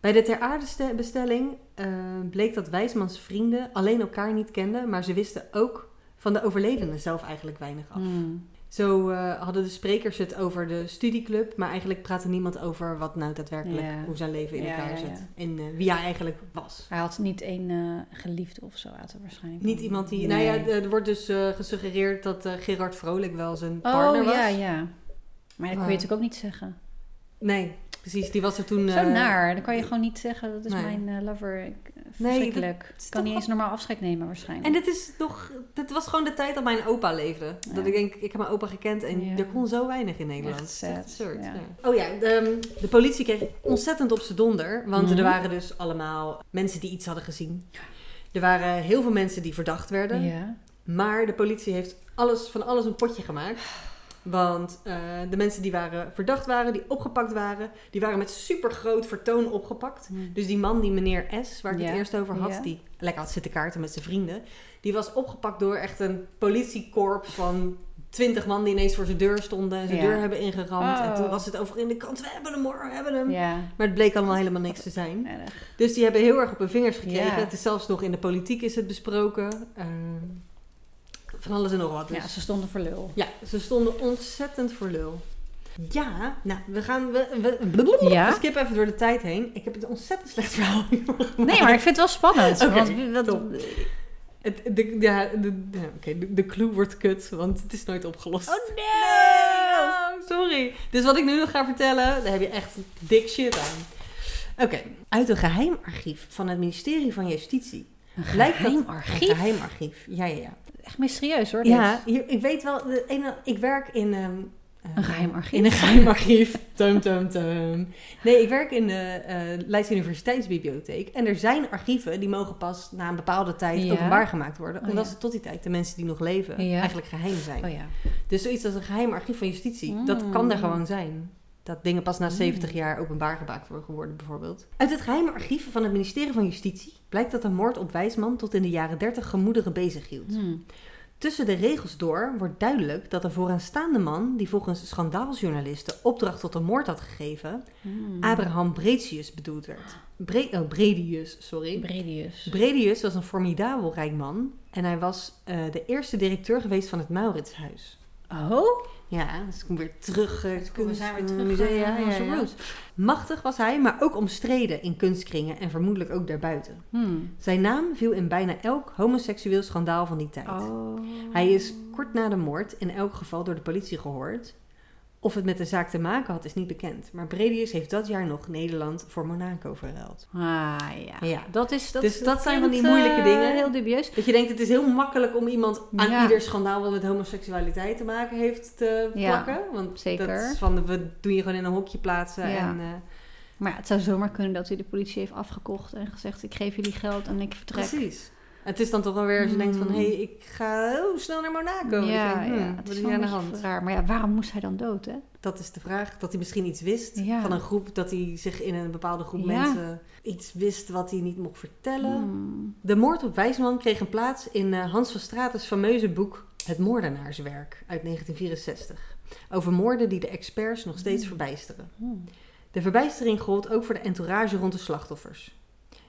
Speaker 2: Bij de ter aarde ste- bestelling eh, bleek dat Wijsmans vrienden alleen elkaar niet kenden, maar ze wisten ook van de overledene zelf eigenlijk weinig af.
Speaker 1: Mm.
Speaker 2: Zo eh, hadden de sprekers het over de studieclub, maar eigenlijk praatte niemand over wat nou daadwerkelijk,
Speaker 1: Ja.
Speaker 2: hoe zijn leven in
Speaker 1: Ja,
Speaker 2: elkaar
Speaker 1: ja,
Speaker 2: zit
Speaker 1: ja.
Speaker 2: en eh, wie hij eigenlijk was.
Speaker 1: Hij had niet één eh, geliefde of zo uit waarschijnlijk.
Speaker 2: Niet iemand die.
Speaker 1: Nee.
Speaker 2: Nou ja, er wordt dus eh, gesuggereerd dat eh, Gerard Vrolijk wel zijn partner
Speaker 1: Oh
Speaker 2: was.
Speaker 1: ja, ja. Maar dat kun
Speaker 2: Maar-
Speaker 1: je natuurlijk ook niet zeggen.
Speaker 2: Nee, precies. Die was er toen.
Speaker 1: Zo
Speaker 2: eh,
Speaker 1: naar. Dan kan je gewoon niet zeggen, dat is
Speaker 2: nee.
Speaker 1: mijn eh, lover. Ik,
Speaker 2: Nee,
Speaker 1: verschrikkelijk.
Speaker 2: is
Speaker 1: kan
Speaker 2: toch
Speaker 1: niet eens normaal afscheid nemen waarschijnlijk.
Speaker 2: En dit is nog. Dit was gewoon de tijd dat mijn opa leefde.
Speaker 1: Ja.
Speaker 2: Dat ik denk, ik heb mijn opa gekend en
Speaker 1: Ja.
Speaker 2: er kon zo weinig in Nederland.
Speaker 1: Echt
Speaker 2: Het is echt
Speaker 1: sad,
Speaker 2: absurd.
Speaker 1: ja.
Speaker 2: ja. Oh ja, de, de politie kreeg ontzettend op z'n donder. Want
Speaker 1: Mhm.
Speaker 2: er waren dus allemaal mensen die iets hadden gezien. Er waren heel veel mensen die verdacht werden.
Speaker 1: Ja.
Speaker 2: Maar de politie heeft alles, van alles een potje gemaakt. Want eh, de mensen die waren verdacht waren, die opgepakt waren, die waren met supergroot vertoon opgepakt. Dus die man, die meneer S, waar ik
Speaker 1: Hmm. Ja,
Speaker 2: het eerst over had,
Speaker 1: ja.
Speaker 2: die lekker had zitten kaarten met zijn vrienden, die was opgepakt door echt een politiekorps van twintig man die ineens voor zijn deur stonden en zijn
Speaker 1: Ja.
Speaker 2: deur hebben ingeramd. En
Speaker 1: Oh.
Speaker 2: toen was het over in de kant, we hebben hem hoor, we hebben hem.
Speaker 1: Ja.
Speaker 2: Maar het bleek allemaal helemaal niks te zijn.
Speaker 1: Erg.
Speaker 2: Dus die hebben heel erg op hun vingers gekregen.
Speaker 1: Ja.
Speaker 2: Het is zelfs nog in de politiek is het besproken. Eh, van alles en nog wat. Dus.
Speaker 1: Ja, ze stonden voor lul.
Speaker 2: Ja, ze stonden ontzettend voor lul. Ja, nou, we gaan... We, we, blablabla.
Speaker 1: Ja?
Speaker 2: we skippen even door de tijd heen. Ik heb het ontzettend slecht verhaal hiervoor
Speaker 1: Nee, maar ik vind het wel spannend.
Speaker 2: Oké,
Speaker 1: want wie- wat-
Speaker 2: top. Het, de, ja, de, ja, oké, de, de clue wordt kut, want het is nooit opgelost.
Speaker 1: Oh nee!
Speaker 2: Oh, sorry. Dus wat ik nu nog ga vertellen, daar heb je echt dik shit aan. Oké, uit een geheim archief van het ministerie van Justitie.
Speaker 1: Een
Speaker 2: Lijkt dat-
Speaker 1: geheim
Speaker 2: Een
Speaker 1: archief.
Speaker 2: geheim archief, ja, ja, ja.
Speaker 1: Echt mysterieus hoor.
Speaker 2: Ja,
Speaker 1: dit.
Speaker 2: hier- ik weet wel, de ene- ik werk in... ehm, eh,
Speaker 1: Een geheim archief.
Speaker 2: In een geheim archief. Tum, tum, tum. Nee, ik werk in de eh Leidse Universiteitsbibliotheek. En er zijn archieven die mogen pas na een bepaalde tijd
Speaker 1: Ja.
Speaker 2: openbaar gemaakt worden.
Speaker 1: Oh,
Speaker 2: Omdat
Speaker 1: ja.
Speaker 2: ze tot die tijd, de mensen die nog leven,
Speaker 1: Ja.
Speaker 2: eigenlijk geheim zijn.
Speaker 1: Oh ja.
Speaker 2: Dus zoiets als een geheim archief van justitie, dat
Speaker 1: Mm.
Speaker 2: kan er gewoon zijn. Dat dingen pas na
Speaker 1: Mm.
Speaker 2: 70 jaar openbaar gemaakt worden geworden, bijvoorbeeld. Uit het geheime archief van het ministerie van Justitie blijkt dat de moord op Wijsman tot in de jaren 30 gemoederen bezighield.
Speaker 1: Hmm.
Speaker 2: Tussen de regels door wordt duidelijk dat een vooraanstaande man, die volgens schandaaljournalisten opdracht tot de moord had gegeven,
Speaker 1: Hmm.
Speaker 2: Abraham Bredius bedoeld werd. Mhm. Bre oh, Bredius, sorry.
Speaker 1: Bredius.
Speaker 2: Bredius was een formidabel rijk man en hij was eh, de eerste directeur geweest van het Mauritshuis.
Speaker 1: Oh?
Speaker 2: Ja, dus ik kom weer terug. eh, het
Speaker 1: Kom, we zijn weer terug,
Speaker 2: kunstmusea,
Speaker 1: eh,
Speaker 2: ja, ja,
Speaker 1: onze
Speaker 2: ja.
Speaker 1: roots.
Speaker 2: Machtig was hij, maar ook omstreden in kunstkringen en vermoedelijk ook daarbuiten.
Speaker 1: Hmm.
Speaker 2: Zijn naam viel in bijna elk homoseksueel schandaal van die tijd.
Speaker 1: Oh.
Speaker 2: Hij is kort na de moord in elk geval door de politie gehoord. Of het met de zaak te maken had, is niet bekend. Maar Bredius heeft dat jaar nog Nederland voor Monaco verruild.
Speaker 1: Ah ja.
Speaker 2: Ja.
Speaker 1: Dat is, dat,
Speaker 2: Dus dat zijn van die
Speaker 1: klinkt,
Speaker 2: moeilijke
Speaker 1: eh,
Speaker 2: dingen.
Speaker 1: Heel dubieus.
Speaker 2: Dat je denkt, het is heel makkelijk om iemand aan
Speaker 1: Ja.
Speaker 2: ieder schandaal wat met homoseksualiteit te maken heeft te
Speaker 1: Ja,
Speaker 2: plakken. Want
Speaker 1: zeker.
Speaker 2: dat is van, we doen je gewoon in een hokje plaatsen.
Speaker 1: Ja.
Speaker 2: En, eh,
Speaker 1: Maar ja, het zou zomaar kunnen dat hij de politie heeft afgekocht en gezegd: Ik geef jullie geld en ik vertrek.
Speaker 2: Precies. Het is dan toch wel weer als je denkt van...
Speaker 1: Hmm.
Speaker 2: hé, hey, ik ga heel snel naar Monaco. Dat je
Speaker 1: Ja,
Speaker 2: denkt, hmm,
Speaker 1: ja, het
Speaker 2: wat
Speaker 1: is
Speaker 2: is
Speaker 1: wel
Speaker 2: hier aan
Speaker 1: een
Speaker 2: de
Speaker 1: beetje
Speaker 2: hand?
Speaker 1: raar. Maar ja, waarom moest hij dan dood, hè?
Speaker 2: Dat is de vraag. Dat hij misschien iets wist
Speaker 1: Ja.
Speaker 2: van een groep. Dat hij zich in een bepaalde
Speaker 1: Ja.
Speaker 2: groep mensen iets wist wat hij niet mocht vertellen.
Speaker 1: Hmm.
Speaker 2: De moord op Wijsman kreeg een plaats in eh, Hans van Straten's fameuze boek Het Moordenaarswerk uit 1964. Over moorden die de experts nog
Speaker 1: Mm.
Speaker 2: steeds verbijsteren.
Speaker 1: Hmm.
Speaker 2: De verbijstering gold ook voor de entourage rond de slachtoffers.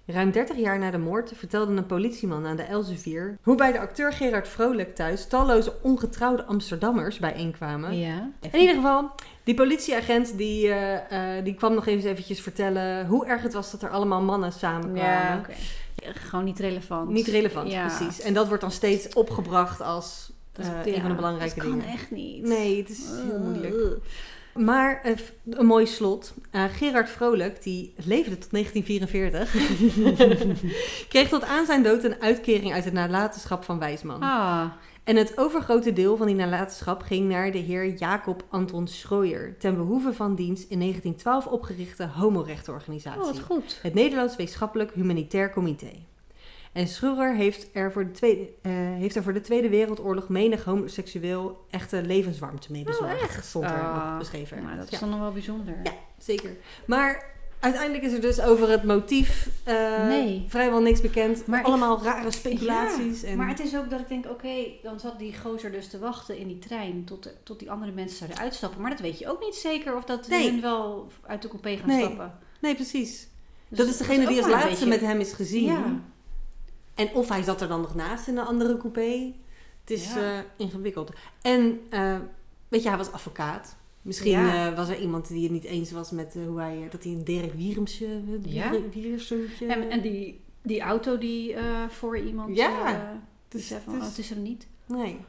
Speaker 2: Ruim 30 jaar na de moord vertelde een politieman aan de Elsevier hoe bij de acteur Gerard Vrolijk thuis talloze ongetrouwde Amsterdammers bijeenkwamen
Speaker 1: Ja.
Speaker 2: in ieder geval, die politieagent die, eh, eh, die kwam nog even eventjes vertellen hoe erg het was dat er allemaal mannen samenkwamen.
Speaker 1: Ja, oké. Gewoon niet relevant.
Speaker 2: Niet relevant,
Speaker 1: Ja.
Speaker 2: precies. En dat wordt dan steeds opgebracht als
Speaker 1: Dat is-
Speaker 2: eh,
Speaker 1: ja,
Speaker 2: een van de belangrijke
Speaker 1: dat
Speaker 2: dingen.
Speaker 1: kan echt niet.
Speaker 2: Nee, het is heel
Speaker 1: Ugh.
Speaker 2: moeilijk. Maar eh, f- een mooi slot. Eh, Gerard Vrolijk, die leefde tot 1944, kreeg tot aan zijn dood een uitkering uit het nalatenschap van Wijsman.
Speaker 1: Ah,
Speaker 2: En het overgrote deel van die nalatenschap ging naar de heer Jacob Anton Schroeyer, ten behoeve van dienst in 1912 opgerichte
Speaker 1: oh, wat
Speaker 2: homorechtenorganisatie,
Speaker 1: goed.
Speaker 2: het Nederlands Wetenschappelijk Humanitair Comité. En Schroeyer heeft er voor de Tweede, eh, heeft er voor de Tweede Wereldoorlog menig homoseksueel echte levenswarmte mee bezorgd.
Speaker 1: Oh, echt?
Speaker 2: Stond er
Speaker 1: Ah,
Speaker 2: nog beschreven.
Speaker 1: Nou, dat is
Speaker 2: Ja,
Speaker 1: dan nog wel bijzonder.
Speaker 2: Ja. zeker. Maar uiteindelijk is er dus over het motief eh,
Speaker 1: Nee.
Speaker 2: vrijwel niks bekend.
Speaker 1: Maar ik-
Speaker 2: Allemaal rare speculaties. en...
Speaker 1: Maar het is ook dat ik denk, oké, dan zat die gozer dus te wachten in die trein tot, de- tot die andere mensen zouden uitstappen. Maar dat weet je ook niet zeker of dat
Speaker 2: Nee.
Speaker 1: hun wel uit de coupé gaan
Speaker 2: Nee.
Speaker 1: stappen.
Speaker 2: Nee, precies.
Speaker 1: Dus
Speaker 2: dat is degene
Speaker 1: ook
Speaker 2: die als
Speaker 1: maar een
Speaker 2: laatste met
Speaker 1: beetje-
Speaker 2: hem is gezien.
Speaker 1: Ja.
Speaker 2: En of hij zat er dan nog naast in een andere coupé. Het is
Speaker 1: Ja.
Speaker 2: eh, ingewikkeld. En eh, weet je, hij was advocaat. Misschien
Speaker 1: Ja.
Speaker 2: eh, was er iemand die het niet eens was met eh, hoe hij... eh, dat hij een Dirk eh, Wiermsje...
Speaker 1: Ja.
Speaker 2: Ja. Wiersumtje...
Speaker 1: En, en die, die auto die eh, voor iemand...
Speaker 2: Ja.
Speaker 1: eh, die
Speaker 2: Dus-
Speaker 1: zei van,
Speaker 2: dus-
Speaker 1: oh, het is hem niet.
Speaker 2: Nee.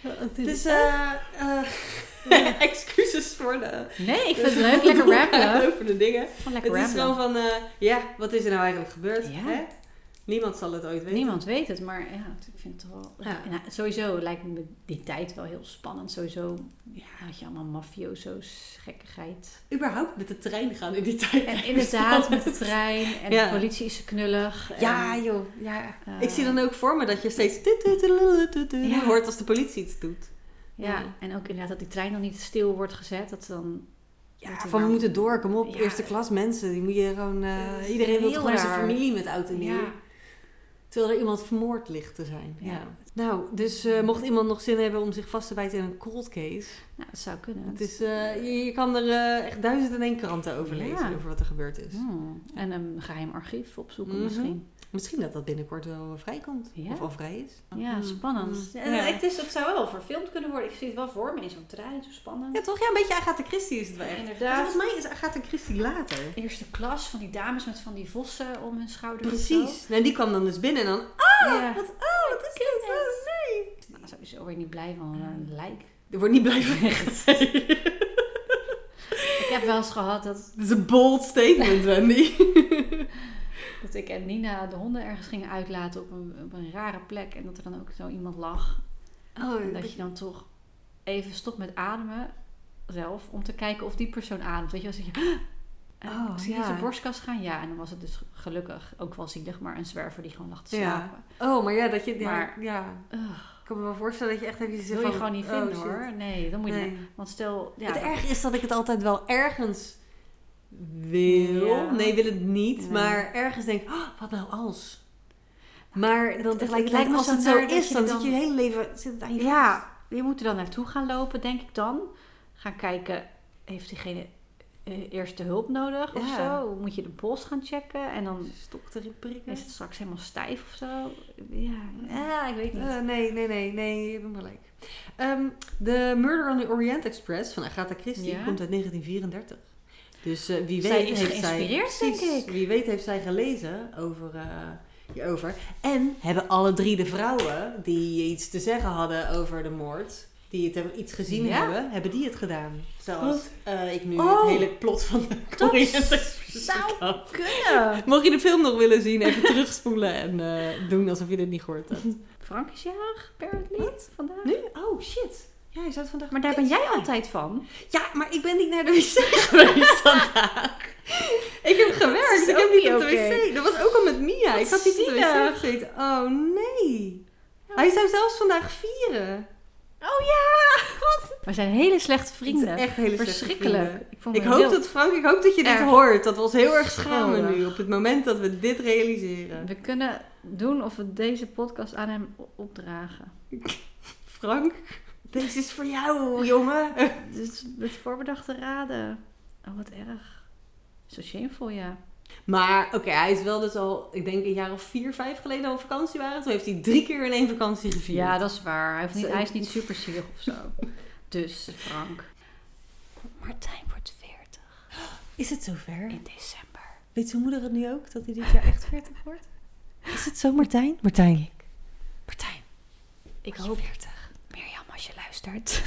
Speaker 1: Het
Speaker 2: Dus, eh, eh, excuses voor de...
Speaker 1: eh, nee, ik vind het leuk. Lekker rappen.
Speaker 2: Over de dingen.
Speaker 1: Gewoon lekker
Speaker 2: Het is
Speaker 1: rappen.
Speaker 2: gewoon van... eh, ja, wat is er nou eigenlijk gebeurd?
Speaker 1: Ja.
Speaker 2: Hè? Niemand zal het ooit weten.
Speaker 1: Niemand weet het, maar ja, ik vind het toch wel.
Speaker 2: Ja.
Speaker 1: Nou, sowieso lijkt me die tijd wel heel spannend. Sowieso ja, had je allemaal mafioso's, gekkigheid.
Speaker 2: Überhaupt met de trein gaan in die tijd.
Speaker 1: En inderdaad, met de trein en
Speaker 2: Ja.
Speaker 1: de politie is knullig. en,
Speaker 2: Ja, joh. Ja.
Speaker 1: eh,
Speaker 2: ik zie dan ook voor me dat je steeds tut, tut, tut, tut, tut
Speaker 1: Ja.
Speaker 2: hoort als de politie iets doet.
Speaker 1: Ja, en ook inderdaad dat die trein dan niet stil wordt gezet. Dat ze dan.
Speaker 2: Ja,
Speaker 1: Met de
Speaker 2: van we
Speaker 1: naam.
Speaker 2: moeten door, kom op.
Speaker 1: Ja.
Speaker 2: Eerste klas mensen, die moet je gewoon... eh,
Speaker 1: Dat is
Speaker 2: iedereen wil
Speaker 1: heel
Speaker 2: gewoon zijn
Speaker 1: raar.
Speaker 2: familie met oud en nieuw.
Speaker 1: Ja,
Speaker 2: Terwijl er iemand vermoord ligt te zijn. Ja.
Speaker 1: Ja.
Speaker 2: Nou, dus eh, mocht iemand nog zin hebben om zich vast te bijten in een cold case...
Speaker 1: nou, dat zou kunnen.
Speaker 2: Het is, eh, je, je kan er eh, echt duizend en één kranten over lezen
Speaker 1: Ja.
Speaker 2: over wat er gebeurd is.
Speaker 1: Hmm, En een geheim archief opzoeken
Speaker 2: Mhm.
Speaker 1: misschien.
Speaker 2: Misschien dat dat binnenkort wel vrijkomt.
Speaker 1: Ja.
Speaker 2: Of al vrij is. Dus
Speaker 1: Ja, spannend.
Speaker 2: Mhm. Ja.
Speaker 1: En het, is, het zou wel verfilmd kunnen worden. Ik zie het wel voor me in zo'n trein. Zo spannend.
Speaker 2: Ja, toch? Ja, een beetje Agatha Christie is het wel echt.
Speaker 1: Inderdaad.
Speaker 2: Volgens mij is Agatha Christie later.
Speaker 1: Eerste klas van die dames met van die vossen om hun schouders. of zo.
Speaker 2: Precies. Nou, die kwam dan dus binnen en dan...
Speaker 1: Ja.
Speaker 2: Wat, oh, wat is dit? Oh, nee.
Speaker 1: Nou, sowieso word je niet blij van een lijk.
Speaker 2: Er wordt niet blij van echt.
Speaker 1: Ik heb wel eens gehad dat,
Speaker 2: Dat is een bold statement, Wendy.
Speaker 1: dat ik en Nina de honden ergens gingen uitlaten op een, op een rare plek. En dat er dan ook zo iemand lag. En
Speaker 2: Oh,
Speaker 1: dat je dan toch even stopt met ademen zelf. Om te kijken of die persoon ademt. Weet je wel, dan zeg je... En
Speaker 2: Oh,
Speaker 1: zie je
Speaker 2: ja.
Speaker 1: zijn borstkas gaan? Ja, en dan was het dus gelukkig ook wel zielig, maar een zwerver die gewoon lag te
Speaker 2: Ja.
Speaker 1: slapen.
Speaker 2: oh, maar ja, dat je... Ja,
Speaker 1: Maar-
Speaker 2: ja.
Speaker 1: Ugh,
Speaker 2: Ik kan me wel voorstellen dat je echt even...
Speaker 1: dat
Speaker 2: zit
Speaker 1: wil je
Speaker 2: van,
Speaker 1: gewoon niet
Speaker 2: oh,
Speaker 1: vinden
Speaker 2: shit.
Speaker 1: hoor. Nee, dan moet je.
Speaker 2: Nee.
Speaker 1: Want stel. Ja,
Speaker 2: het
Speaker 1: dat-
Speaker 2: erg is dat ik het altijd wel ergens wil.
Speaker 1: Ja.
Speaker 2: Nee, wil het niet.
Speaker 1: Nee.
Speaker 2: Maar ergens denk ik, oh, wat nou als? Maar dan
Speaker 1: het
Speaker 2: tegelijkertijd,
Speaker 1: lijkt me
Speaker 2: als
Speaker 1: zo
Speaker 2: het zo
Speaker 1: naar dat
Speaker 2: is,
Speaker 1: je
Speaker 2: dan,
Speaker 1: dan-
Speaker 2: zit je hele leven zit het aan je
Speaker 1: Ja, je moet er dan naartoe gaan lopen, denk ik dan. Gaan kijken, heeft diegene eh, eerste hulp nodig of
Speaker 2: Ja.
Speaker 1: zo? Moet je de pols gaan checken en dan
Speaker 2: vast. Stok erin prikken.
Speaker 1: is het straks helemaal stijf of zo? Ja, ja Ah, ik weet niet.
Speaker 2: Eh, nee, nee, nee, nee, je bent gelijk. Ehm de Murder on the Orient Express van Agatha Christie
Speaker 1: Ja.
Speaker 2: komt uit 1934. Dus eh, wie weet
Speaker 1: Zij is
Speaker 2: heeft
Speaker 1: geïnspireerd,
Speaker 2: zij,
Speaker 1: denk
Speaker 2: Precies,
Speaker 1: ik.
Speaker 2: Wie weet heeft zij gelezen over eh, hierover. En hebben alle drie de vrouwen die iets te zeggen hadden over de moord, die het hebben, iets gezien
Speaker 1: Ja.
Speaker 2: hebben, hebben die het gedaan. Zoals eh, ik nu
Speaker 1: Oh.
Speaker 2: het hele plot van de
Speaker 1: Dat
Speaker 2: Orient Express
Speaker 1: zou
Speaker 2: vertel.
Speaker 1: Kunnen!
Speaker 2: Mocht je de film nog willen zien, even terugspoelen en eh, doen alsof je dit niet gehoord hebt.
Speaker 1: Frank is jarig, apparently, vandaag.
Speaker 2: Nu? Oh, shit. Ja, je zou het vandaag...
Speaker 1: Maar daar ben jij altijd van.
Speaker 2: Ja, maar ik ben niet naar de wc geweest vandaag. Ik heb gewerkt. dus
Speaker 1: is
Speaker 2: Ik heb
Speaker 1: ook
Speaker 2: niet
Speaker 1: niet
Speaker 2: op de
Speaker 1: oké.
Speaker 2: wc. Dat was ook al met Mia.
Speaker 1: Wat
Speaker 2: ik had niet op de wc
Speaker 1: zielig.
Speaker 2: gegeten. Oh nee. Hij zou zelfs vandaag vieren.
Speaker 1: Oh ja! Wat? We zijn hele slechte vrienden.
Speaker 2: Het is echt hele slechte
Speaker 1: Verschrikkelijk.
Speaker 2: vrienden.
Speaker 1: Ik, vond
Speaker 2: Ik
Speaker 1: me
Speaker 2: hoop
Speaker 1: heel-
Speaker 2: dat Frank, ik hoop dat je dit
Speaker 1: Erg.
Speaker 2: hoort. Dat we ons heel erg schamen
Speaker 1: Schuldig.
Speaker 2: nu op het moment dat we dit realiseren.
Speaker 1: We kunnen doen of we deze podcast aan hem o- opdragen.
Speaker 2: Frank, deze is voor jou, jongen.
Speaker 1: Dus met voorbedachte raden. Oh, wat erg. Zo shameful, ja.
Speaker 2: Maar oké, hij is wel dus al, ik denk een jaar of vier, vijf geleden al op vakantie waren. Toen heeft hij drie keer in één vakantie gevierd.
Speaker 1: Ja, dat is waar. Hij, heeft niet,
Speaker 2: Zo-
Speaker 1: hij is niet super zielig of zo. Dus, Frank. Martijn wordt 40
Speaker 2: Is het zover?
Speaker 1: in december.
Speaker 2: Weet zijn moeder het nu ook, dat hij dit jaar echt 40 wordt? Is het zo, Martijn? Martijn. Martijn,
Speaker 1: Ik
Speaker 2: word je
Speaker 1: hoop,
Speaker 2: 40.
Speaker 1: Mirjam, als je luistert.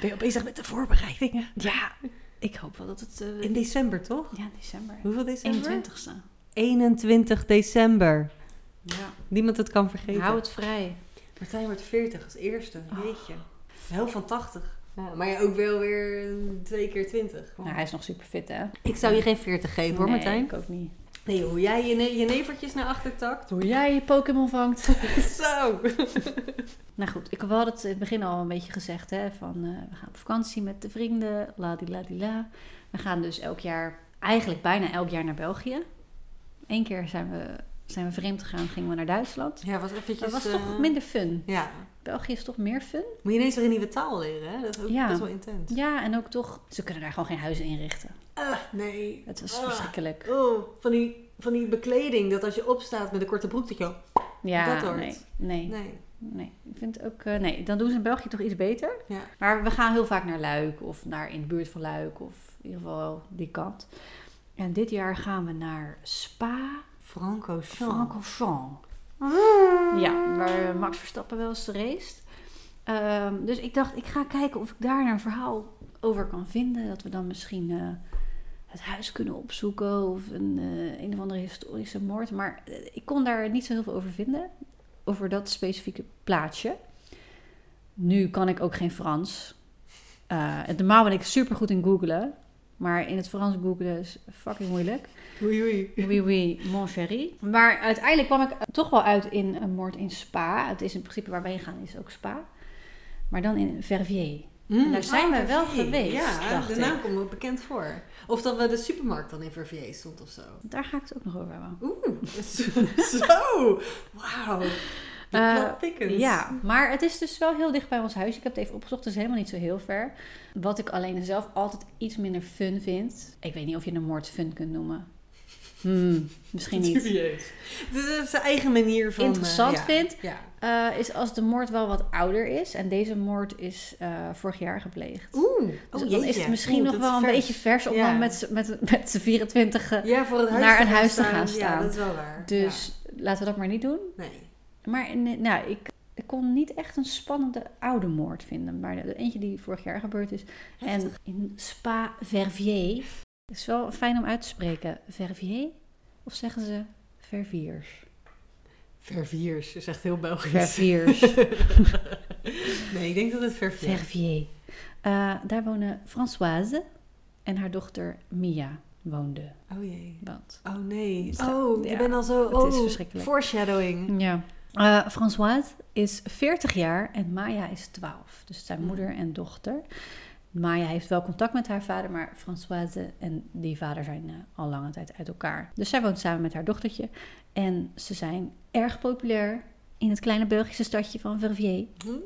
Speaker 2: Ben je al bezig met de voorbereidingen?
Speaker 1: Ja, ik hoop wel dat het... eh,
Speaker 2: In december, toch?
Speaker 1: ja, in december.
Speaker 2: Hoeveel december?
Speaker 1: 21ste.
Speaker 2: 21 december.
Speaker 1: Ja.
Speaker 2: Niemand Nou, het kan vergeten.
Speaker 1: Hou het vrij.
Speaker 2: Martijn wordt 40 als eerste.
Speaker 1: Oh.
Speaker 2: Jeetje. Heel van 80. Ja, maar ja, ook wel weer twee keer 20.
Speaker 1: Nou, hij is nog super fit, hè?
Speaker 2: Ik zou je geen 40 geven hoor,
Speaker 1: Nee,
Speaker 2: Martijn.
Speaker 1: ik ook niet.
Speaker 2: Nee, hoe jij je, ne- je nevertjes naar achter takt.
Speaker 1: Hoe jij je Pokémon vangt.
Speaker 2: Zo.
Speaker 1: Nou goed, ik had het in het begin al een beetje gezegd, hè, van eh, we gaan op vakantie met de vrienden, la di la di la. We gaan dus elk jaar, eigenlijk bijna elk jaar naar België. Eén keer zijn we, zijn we vreemd gegaan, gingen we naar Duitsland.
Speaker 2: Ja, was eventjes...
Speaker 1: Dat was
Speaker 2: eh,
Speaker 1: toch minder fun.
Speaker 2: Ja.
Speaker 1: België is toch meer fun?
Speaker 2: Moet je ineens weer een nieuwe taal leren, hè? Dat is ook
Speaker 1: Ja.
Speaker 2: best wel intens.
Speaker 1: Ja, en ook toch, ze kunnen daar gewoon geen huizen inrichten.
Speaker 2: Ah, nee.
Speaker 1: Het was
Speaker 2: Ah.
Speaker 1: verschrikkelijk.
Speaker 2: Oh, van die, van die bekleding dat als je opstaat met een korte broek, dat je...
Speaker 1: Ja,
Speaker 2: Dat hoort.
Speaker 1: nee, nee,
Speaker 2: Nee.
Speaker 1: nee. Ik vind ook, eh, nee, dan doen ze in België toch iets beter.
Speaker 2: Ja.
Speaker 1: Maar we gaan heel vaak naar Luik of naar in de buurt van Luik of in ieder geval die kant. En dit jaar gaan we naar Spa
Speaker 2: Franco Ah.
Speaker 1: Francorchamps. Ja, waar Max Verstappen wel eens race. Ehm, dus ik dacht, ik ga kijken of ik daar een verhaal over kan vinden. Dat we dan misschien eh, het huis kunnen opzoeken of een, eh, een of andere historische moord. Maar eh, ik kon daar niet zo heel veel over vinden, over dat specifieke plaatsje. Nu kan ik ook geen Frans. Eh, en normaal ben ik super goed in googlen, maar in het Frans googlen is fucking moeilijk.
Speaker 2: Oei, oei.
Speaker 1: Oui, oui, mon chéri. Maar uiteindelijk kwam ik toch wel uit in een moord in Spa. Het is in principe waar wij heen gaan, is ook Spa. Maar dan in Verviers. En Hm, daar zijn we wel
Speaker 2: Verviers.
Speaker 1: geweest,
Speaker 2: Mm, Ja,
Speaker 1: dacht
Speaker 2: de
Speaker 1: ik.
Speaker 2: naam komt me bekend voor. Of dat we de supermarkt dan in Verviers stond of zo.
Speaker 1: Daar ga ik het ook nog over hebben.
Speaker 2: Oeh, zo. Wauw. De
Speaker 1: Eh,
Speaker 2: plot thickens.
Speaker 1: Ja, maar het is dus wel heel dicht bij ons huis. Ik heb het even opgezocht, het is helemaal niet zo heel ver. Wat ik alleen zelf altijd iets minder fun vind. Ik weet niet of je een moord fun kunt noemen. Hmm, misschien niet.
Speaker 2: Dubieus. Het is eh, zijn eigen manier van... eh,
Speaker 1: Interessant
Speaker 2: ja.
Speaker 1: vindt.
Speaker 2: Ja.
Speaker 1: Eh, is als de moord wel wat ouder is. En deze moord is eh, vorig jaar gepleegd.
Speaker 2: Oeh.
Speaker 1: Dus
Speaker 2: oh,
Speaker 1: dan is
Speaker 2: jeetje.
Speaker 1: het misschien
Speaker 2: Oeh,
Speaker 1: nog
Speaker 2: dat is
Speaker 1: wel een
Speaker 2: vers.
Speaker 1: beetje vers om
Speaker 2: Ja.
Speaker 1: dan met, z'n- met, met z'n 24. e
Speaker 2: Ja, voor het huis
Speaker 1: naar
Speaker 2: te
Speaker 1: een
Speaker 2: gaan
Speaker 1: huis te gaan
Speaker 2: Ja,
Speaker 1: staan.
Speaker 2: dat is wel waar.
Speaker 1: Dus laten we dat maar niet doen.
Speaker 2: Ja. Nee.
Speaker 1: Maar in- nou, ik, ik kon niet echt een spannende oude moord vinden. Maar de, eentje die vorig jaar gebeurd is. En in Spa Verviers. Is wel fijn om uit te spreken. Verviers? Of zeggen ze Verviers?
Speaker 2: Verviers is echt heel Belgisch.
Speaker 1: Verviers.
Speaker 2: nee, ik denk dat het Verviers
Speaker 1: Verviers. Eh, daar wonen Françoise en haar dochter Mia woonde.
Speaker 2: Oh jee.
Speaker 1: Want,
Speaker 2: Oh nee.
Speaker 1: Zo,
Speaker 2: Oh,
Speaker 1: ja.
Speaker 2: je bent al zo...
Speaker 1: Het
Speaker 2: oh,
Speaker 1: is verschrikkelijk.
Speaker 2: Foreshadowing.
Speaker 1: ja. Eh, Françoise is 40 jaar en Maya is 12. Dus
Speaker 2: Mm.
Speaker 1: zijn moeder en dochter. Maya heeft wel contact met haar vader, maar Françoise en die vader zijn eh, al lange tijd uit elkaar. Dus zij woont samen met haar dochtertje. En ze zijn erg populair in het kleine Belgische stadje van Verviers.
Speaker 2: Hmm.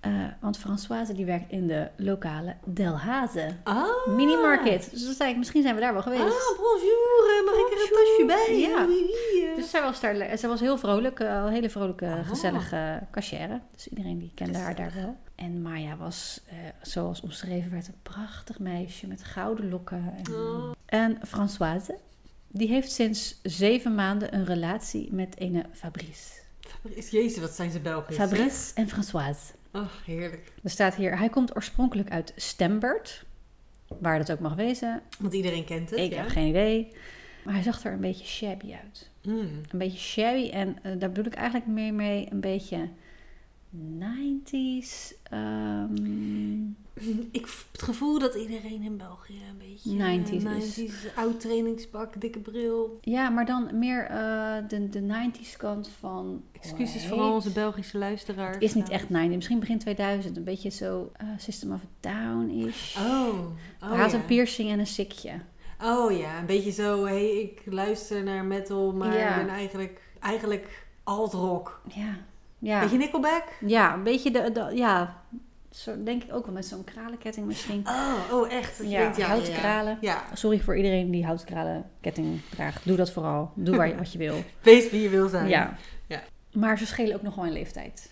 Speaker 1: Eh, want Françoise die werkt in de lokale Delhaze.
Speaker 2: Ah.
Speaker 1: Minimarket. Dus dat zei ik, misschien zijn we daar wel geweest.
Speaker 2: Ah, bonjour, eh, mag ik er een
Speaker 1: Bonjour.
Speaker 2: tasje bij?
Speaker 1: Ja.
Speaker 2: Oui, oui, eh.
Speaker 1: Dus zij was, daar, le- zij was heel vrolijk, eh, een hele vrolijke,
Speaker 2: Aha.
Speaker 1: gezellige cachère. Dus iedereen die kende haar daar
Speaker 2: Oh. Gezellig.
Speaker 1: wel. En Maya was, eh, zoals omschreven werd, een prachtig meisje met gouden lokken. En,
Speaker 2: Oh.
Speaker 1: en Françoise, die heeft sinds zeven maanden een relatie met een Fabrice.
Speaker 2: Fabrice, jezus, wat zijn ze Belgisch.
Speaker 1: Fabrice en Françoise.
Speaker 2: Oh, heerlijk.
Speaker 1: Er staat hier, hij komt oorspronkelijk uit Stembert, waar dat ook mag wezen.
Speaker 2: Want iedereen kent het,
Speaker 1: Ik
Speaker 2: ja?
Speaker 1: heb geen idee. Maar hij zag er een beetje shabby uit.
Speaker 2: Hmm.
Speaker 1: Een beetje shabby en eh, daar bedoel ik eigenlijk meer mee een beetje 90s. ehm,
Speaker 2: Ik heb het gevoel dat iedereen in België een beetje...
Speaker 1: 90s
Speaker 2: eh,
Speaker 1: is.
Speaker 2: 90s, oud trainingspak, dikke bril.
Speaker 1: Ja, maar dan meer eh, de, de 90s kant van.
Speaker 2: Excuses
Speaker 1: voor
Speaker 2: voor al onze Belgische luisteraars. Nou.
Speaker 1: Is niet echt 90, misschien begin 2000. Een beetje zo eh, System of a Down is.
Speaker 2: Oh.
Speaker 1: Hij
Speaker 2: oh
Speaker 1: had
Speaker 2: ja.
Speaker 1: een piercing en een sikje.
Speaker 2: Oh ja, een beetje zo, hé, hey, ik luister naar metal, maar
Speaker 1: Ja.
Speaker 2: ik ben eigenlijk, eigenlijk alt-rock.
Speaker 1: Ja. Ja.
Speaker 2: Beetje Nickelback?
Speaker 1: ja, een beetje de. de- ja, zo denk ik ook wel met zo'n kralenketting misschien.
Speaker 2: Oh, oh echt? Dat je
Speaker 1: Ja,
Speaker 2: denkt,
Speaker 1: houtkralen.
Speaker 2: Ja.
Speaker 1: Sorry voor iedereen die houtkralenketting draagt. Doe dat vooral. Doe waar je, wat je wil.
Speaker 2: Wees wie je wil zijn.
Speaker 1: Ja.
Speaker 2: Ja.
Speaker 1: Maar ze schelen ook nog wel in leeftijd.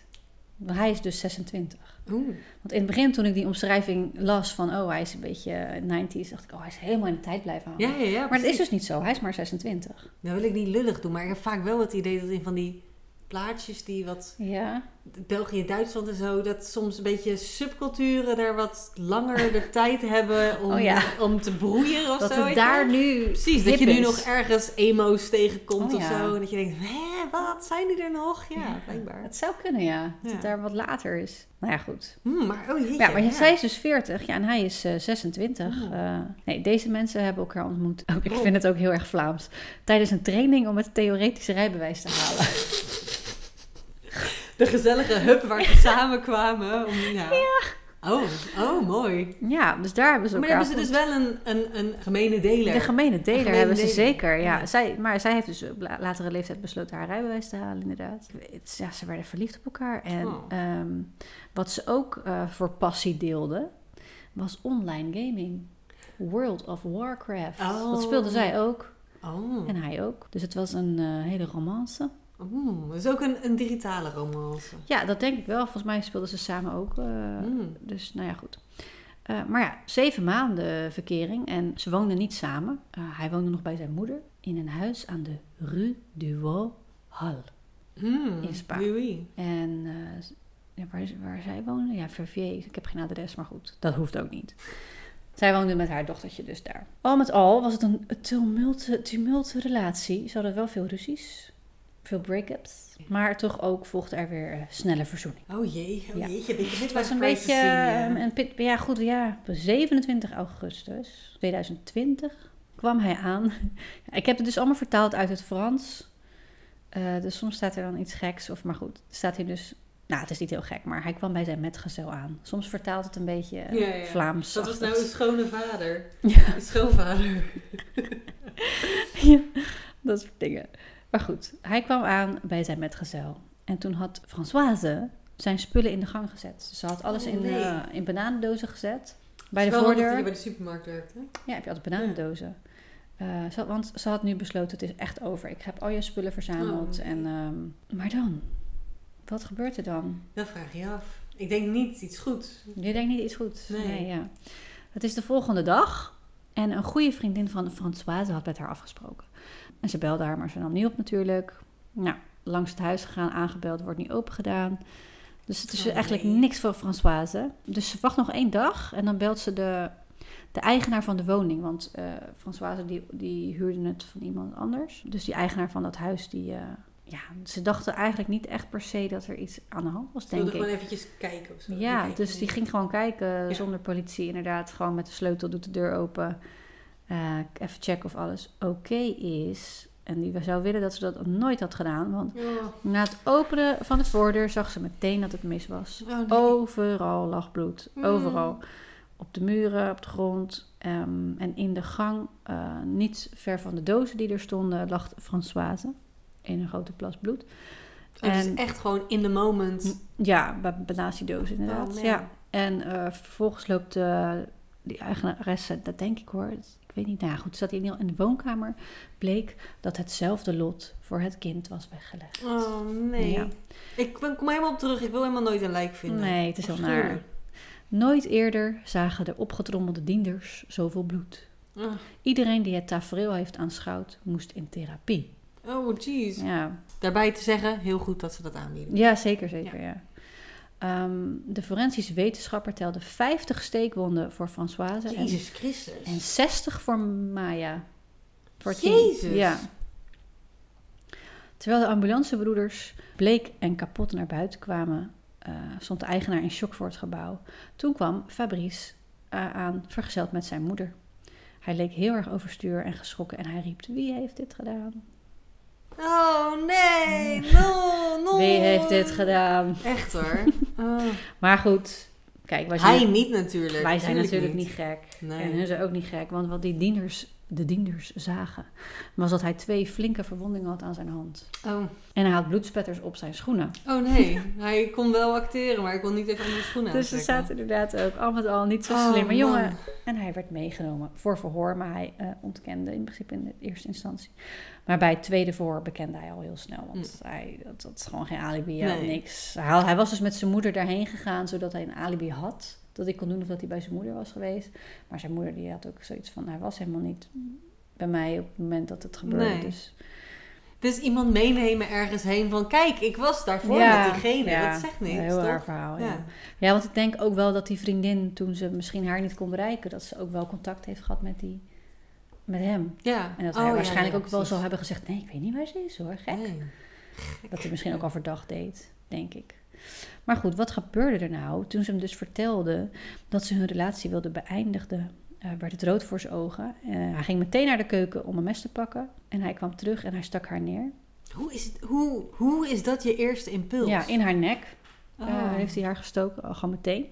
Speaker 1: Hij is dus 26.
Speaker 2: Oeh.
Speaker 1: Want in het begin, toen ik die omschrijving las van, oh, hij is een beetje 90s, dacht ik, oh, hij is helemaal in de tijd blijven hangen.
Speaker 2: Ja, ja, ja.
Speaker 1: maar dat is
Speaker 2: precies.
Speaker 1: dus niet zo. Hij is maar 26.
Speaker 2: Nou wil ik niet lullig doen, maar ik heb vaak wel het idee dat in van die plaatjes die wat...
Speaker 1: Ja.
Speaker 2: België, Duitsland en zo, dat soms een beetje subculturen daar wat langer de tijd hebben om,
Speaker 1: Oh ja.
Speaker 2: om te broeien of
Speaker 1: dat
Speaker 2: zo.
Speaker 1: het
Speaker 2: weet je wel.
Speaker 1: daar nu.
Speaker 2: Precies, dat
Speaker 1: hip
Speaker 2: je nu
Speaker 1: is.
Speaker 2: nog ergens emo's tegenkomt
Speaker 1: Oh,
Speaker 2: of
Speaker 1: ja.
Speaker 2: zo. En dat je denkt, hè, wat, zijn die er nog? Ja,
Speaker 1: Ja.
Speaker 2: blijkbaar.
Speaker 1: Het zou kunnen, ja. Dat
Speaker 2: Ja.
Speaker 1: het daar wat later is. Nou ja, goed.
Speaker 2: Hmm, maar, oh jeetje.
Speaker 1: Ja, maar zij is dus 40 ja, en hij is eh, 26.
Speaker 2: Oh.
Speaker 1: Eh, nee, deze mensen hebben elkaar ontmoet. Ook, ik
Speaker 2: Oh.
Speaker 1: vind het ook heel erg Vlaams. Tijdens een training om het theoretische rijbewijs te halen.
Speaker 2: De gezellige hub waar ze samen kwamen. Om, ja. Oh, oh, mooi.
Speaker 1: Ja, dus daar hebben ze
Speaker 2: Maar
Speaker 1: elkaar
Speaker 2: hebben ze dus
Speaker 1: ontmoet.
Speaker 2: wel een, een, een gemene deler.
Speaker 1: De gemene deler
Speaker 2: Een gemene
Speaker 1: hebben ze
Speaker 2: deler.
Speaker 1: zeker, ja.
Speaker 2: Ja.
Speaker 1: Zij, maar zij heeft dus op la- latere leeftijd besloten haar rijbewijs te halen, inderdaad. Het- Ja, ze werden verliefd op elkaar. En
Speaker 2: Oh.
Speaker 1: ehm, wat ze ook eh, voor passie deelden, was online gaming. World of Warcraft.
Speaker 2: Oh.
Speaker 1: Dat speelde zij ook.
Speaker 2: Oh,
Speaker 1: En hij ook. Dus het was een eh, hele romance.
Speaker 2: Hmm, dus ook een, een digitale romance.
Speaker 1: Ja, dat denk ik wel. Volgens mij speelden ze samen ook. eh,
Speaker 2: Hmm.
Speaker 1: Dus nou ja, goed. Eh, maar ja, zeven maanden verkering en ze woonden niet samen. Eh, hij woonde nog bij zijn moeder in een huis aan de Rue du Haut Hall.
Speaker 2: Hmm.
Speaker 1: In Spa.
Speaker 2: Oui, oui.
Speaker 1: En eh, ja, waar, waar zij woonde? Ja, Verviers. Ik heb geen adres, maar goed, dat hoeft ook niet. Zij woonde met haar dochtertje dus daar. Al met al was het een tumult, tumult relatie. Ze hadden wel veel ruzies, veel break-ups. Maar toch ook volgde er weer eh, snelle verzoening.
Speaker 2: Oh jee, oh
Speaker 1: Ja.
Speaker 2: jeetje. Dit
Speaker 1: Het was een beetje
Speaker 2: eh.
Speaker 1: ehm, een pit. Ja, goed, ja. Op 27 augustus 2020 kwam hij aan. Ik heb het dus allemaal vertaald uit het Frans. Eh, dus soms staat er dan iets geks. Of, maar goed, er staat hier dus. Nou, het is niet heel gek, maar hij kwam bij zijn metgezel aan. Soms vertaalt het een beetje eh,
Speaker 2: Ja, ja.
Speaker 1: Vlaams.
Speaker 2: Dat was nou een schone vader.
Speaker 1: Ja.
Speaker 2: Een schoonvader. nou-
Speaker 1: Ja, dat soort dingen. Maar goed, hij kwam aan bij zijn metgezel. En toen had Françoise zijn spullen in de gang gezet. Dus Ze had alles
Speaker 2: Oh,
Speaker 1: in,
Speaker 2: nee.
Speaker 1: eh, in bananendozen gezet. Bij
Speaker 2: Het
Speaker 1: de
Speaker 2: is wel handig dat
Speaker 1: voordeur.
Speaker 2: je bij de supermarkt werkt, hè?
Speaker 1: Ja, heb je altijd bananendozen. Eh, ze had- want ze had nu besloten, het is echt over. Ik heb al je spullen verzameld.
Speaker 2: Oh.
Speaker 1: En, ehm, maar dan? Wat gebeurt er dan?
Speaker 2: Dat vraag je af. Ik denk niet iets goeds.
Speaker 1: Je denkt niet iets goed.
Speaker 2: Nee.
Speaker 1: ja. Het is de volgende dag. En een goede vriendin van Françoise had met haar afgesproken. En ze belde haar, maar ze nam niet op natuurlijk. Nou, langs het huis gegaan, aangebeld, wordt niet open gedaan. Dus het is
Speaker 2: Oh,
Speaker 1: eigenlijk
Speaker 2: nee.
Speaker 1: niks voor Françoise. Dus ze wacht nog één dag en dan belt ze de, de eigenaar van de woning. Want eh Françoise die, die huurde het van iemand anders. Dus die eigenaar van dat huis, die... eh, ja, ze dachten eigenlijk niet echt per se dat er iets aan de hand was,
Speaker 2: Ik wilde
Speaker 1: denk ik.
Speaker 2: gewoon eventjes kijken of zo.
Speaker 1: Ja,
Speaker 2: Kijken.
Speaker 1: dus die ging gewoon kijken
Speaker 2: Ja.
Speaker 1: zonder politie. Inderdaad, gewoon met de sleutel doet de deur open. Eh, even checken of alles oké is. En die zou willen dat ze dat nooit had gedaan. Want
Speaker 2: Oh,
Speaker 1: na het openen van de voordeur zag ze meteen dat het mis was.
Speaker 2: oh nee.
Speaker 1: Overal lag bloed.
Speaker 2: Mm.
Speaker 1: Overal. Op de muren, op de grond ehm, en in de gang. eh, niet ver van de dozen die er stonden lag Françoise in een grote plas bloed.
Speaker 2: Oh, dus
Speaker 1: en-
Speaker 2: echt gewoon in the moment.
Speaker 1: Ja, bij, bij naast die doos inderdaad.
Speaker 2: Oh, man.
Speaker 1: ja. En eh, vervolgens loopt eh, die eigenaresse, dat denk ik hoor, dat- ik weet niet, nou ja, goed, zat in, in de woonkamer, bleek dat hetzelfde lot voor het kind was weggelegd.
Speaker 2: Oh nee.
Speaker 1: Ja.
Speaker 2: Ik ben- kom helemaal op terug. Ik wil helemaal nooit een lijk vinden.
Speaker 1: Nee, het is heel naar.
Speaker 2: Afschuwelijk.
Speaker 1: Nooit eerder zagen de opgetrommelde dienders zoveel bloed.
Speaker 2: Ah,
Speaker 1: Iedereen die het tafereel heeft aanschouwd, moest in therapie.
Speaker 2: Oh jeez.
Speaker 1: Ja,
Speaker 2: Daarbij te zeggen, heel goed dat ze dat aanbieden.
Speaker 1: Ja, zeker, zeker, ja. Ehm, de forensisch wetenschapper telde 50 steekwonden voor Françoise en,
Speaker 2: Jezus Christus.
Speaker 1: en 60 voor Maya. Voor het
Speaker 2: Jezus.
Speaker 1: kind. Ja. Terwijl de ambulancebroeders bleek en kapot naar buiten kwamen, eh, eh, stond de eigenaar in shock voor het gebouw. Toen kwam Fabrice eh, aan, vergezeld met zijn moeder. Hij leek heel erg overstuur en geschrokken en hij riep: Wie heeft dit gedaan?
Speaker 2: Oh nee, no, no.
Speaker 1: Wie heeft dit gedaan?
Speaker 2: Echt hoor. Oh.
Speaker 1: Maar goed, kijk, wij zijn,
Speaker 2: Hij niet natuurlijk.
Speaker 1: wij zijn
Speaker 2: Tuurlijk
Speaker 1: natuurlijk niet, gek.
Speaker 2: Nee.
Speaker 1: En hun zijn ook niet gek, want wat die dienders, de dienders zagen, was dat hij twee flinke verwondingen had aan zijn hand.
Speaker 2: Oh.
Speaker 1: En hij had bloedspetters op zijn schoenen.
Speaker 2: oh nee, hij kon wel acteren, maar ik kon niet even onder de schoenen
Speaker 1: Dus ze
Speaker 2: aantrekken.
Speaker 1: zaten inderdaad ook al met al niet zo
Speaker 2: Oh,
Speaker 1: slimme
Speaker 2: man.
Speaker 1: jongen. En hij werd meegenomen voor verhoor, maar hij eh, ontkende in principe in de eerste instantie. Maar bij het tweede verhoor bekende hij al heel snel, want hij dat, dat is gewoon geen alibi, hij had
Speaker 2: Mm. Nee.
Speaker 1: niks. Hij, had- hij was dus met zijn moeder daarheen gegaan, zodat hij een alibi had. Dat ik kon doen of dat hij bij zijn moeder was geweest. Maar zijn moeder die had ook zoiets van, hij was helemaal niet bij mij op het moment dat het gebeurde.
Speaker 2: Nee.
Speaker 1: Dus
Speaker 2: Dus iemand meenemen ergens heen van kijk, ik was daarvoor met diegene.
Speaker 1: ja,
Speaker 2: Dat zegt niks,
Speaker 1: Een heel
Speaker 2: toch?
Speaker 1: raar verhaal, ja.
Speaker 2: Ja.
Speaker 1: Ja, want ik denk ook wel dat die vriendin, toen ze misschien haar niet kon bereiken, dat ze ook wel contact heeft gehad met, die, met hem.
Speaker 2: ja.
Speaker 1: En dat
Speaker 2: Oh,
Speaker 1: hij
Speaker 2: ja,
Speaker 1: waarschijnlijk
Speaker 2: ja,
Speaker 1: ook wel
Speaker 2: precies.
Speaker 1: zou hebben gezegd: Nee, ik weet niet waar ze is hoor. Gek.
Speaker 2: Nee.
Speaker 1: Dat hij misschien ook al verdacht deed, denk ik. Maar goed, wat gebeurde er nou toen ze hem dus vertelde dat ze hun relatie wilde beëindigen? eh, werd het rood voor zijn ogen. Eh, hij ging meteen naar de keuken om een mes te pakken. En hij kwam terug en hij stak haar neer.
Speaker 2: Hoe, is het, hoe, hoe is dat je eerste impuls?
Speaker 1: Ja, in haar nek.
Speaker 2: Oh.
Speaker 1: Eh, heeft hij haar gestoken, al gewoon meteen.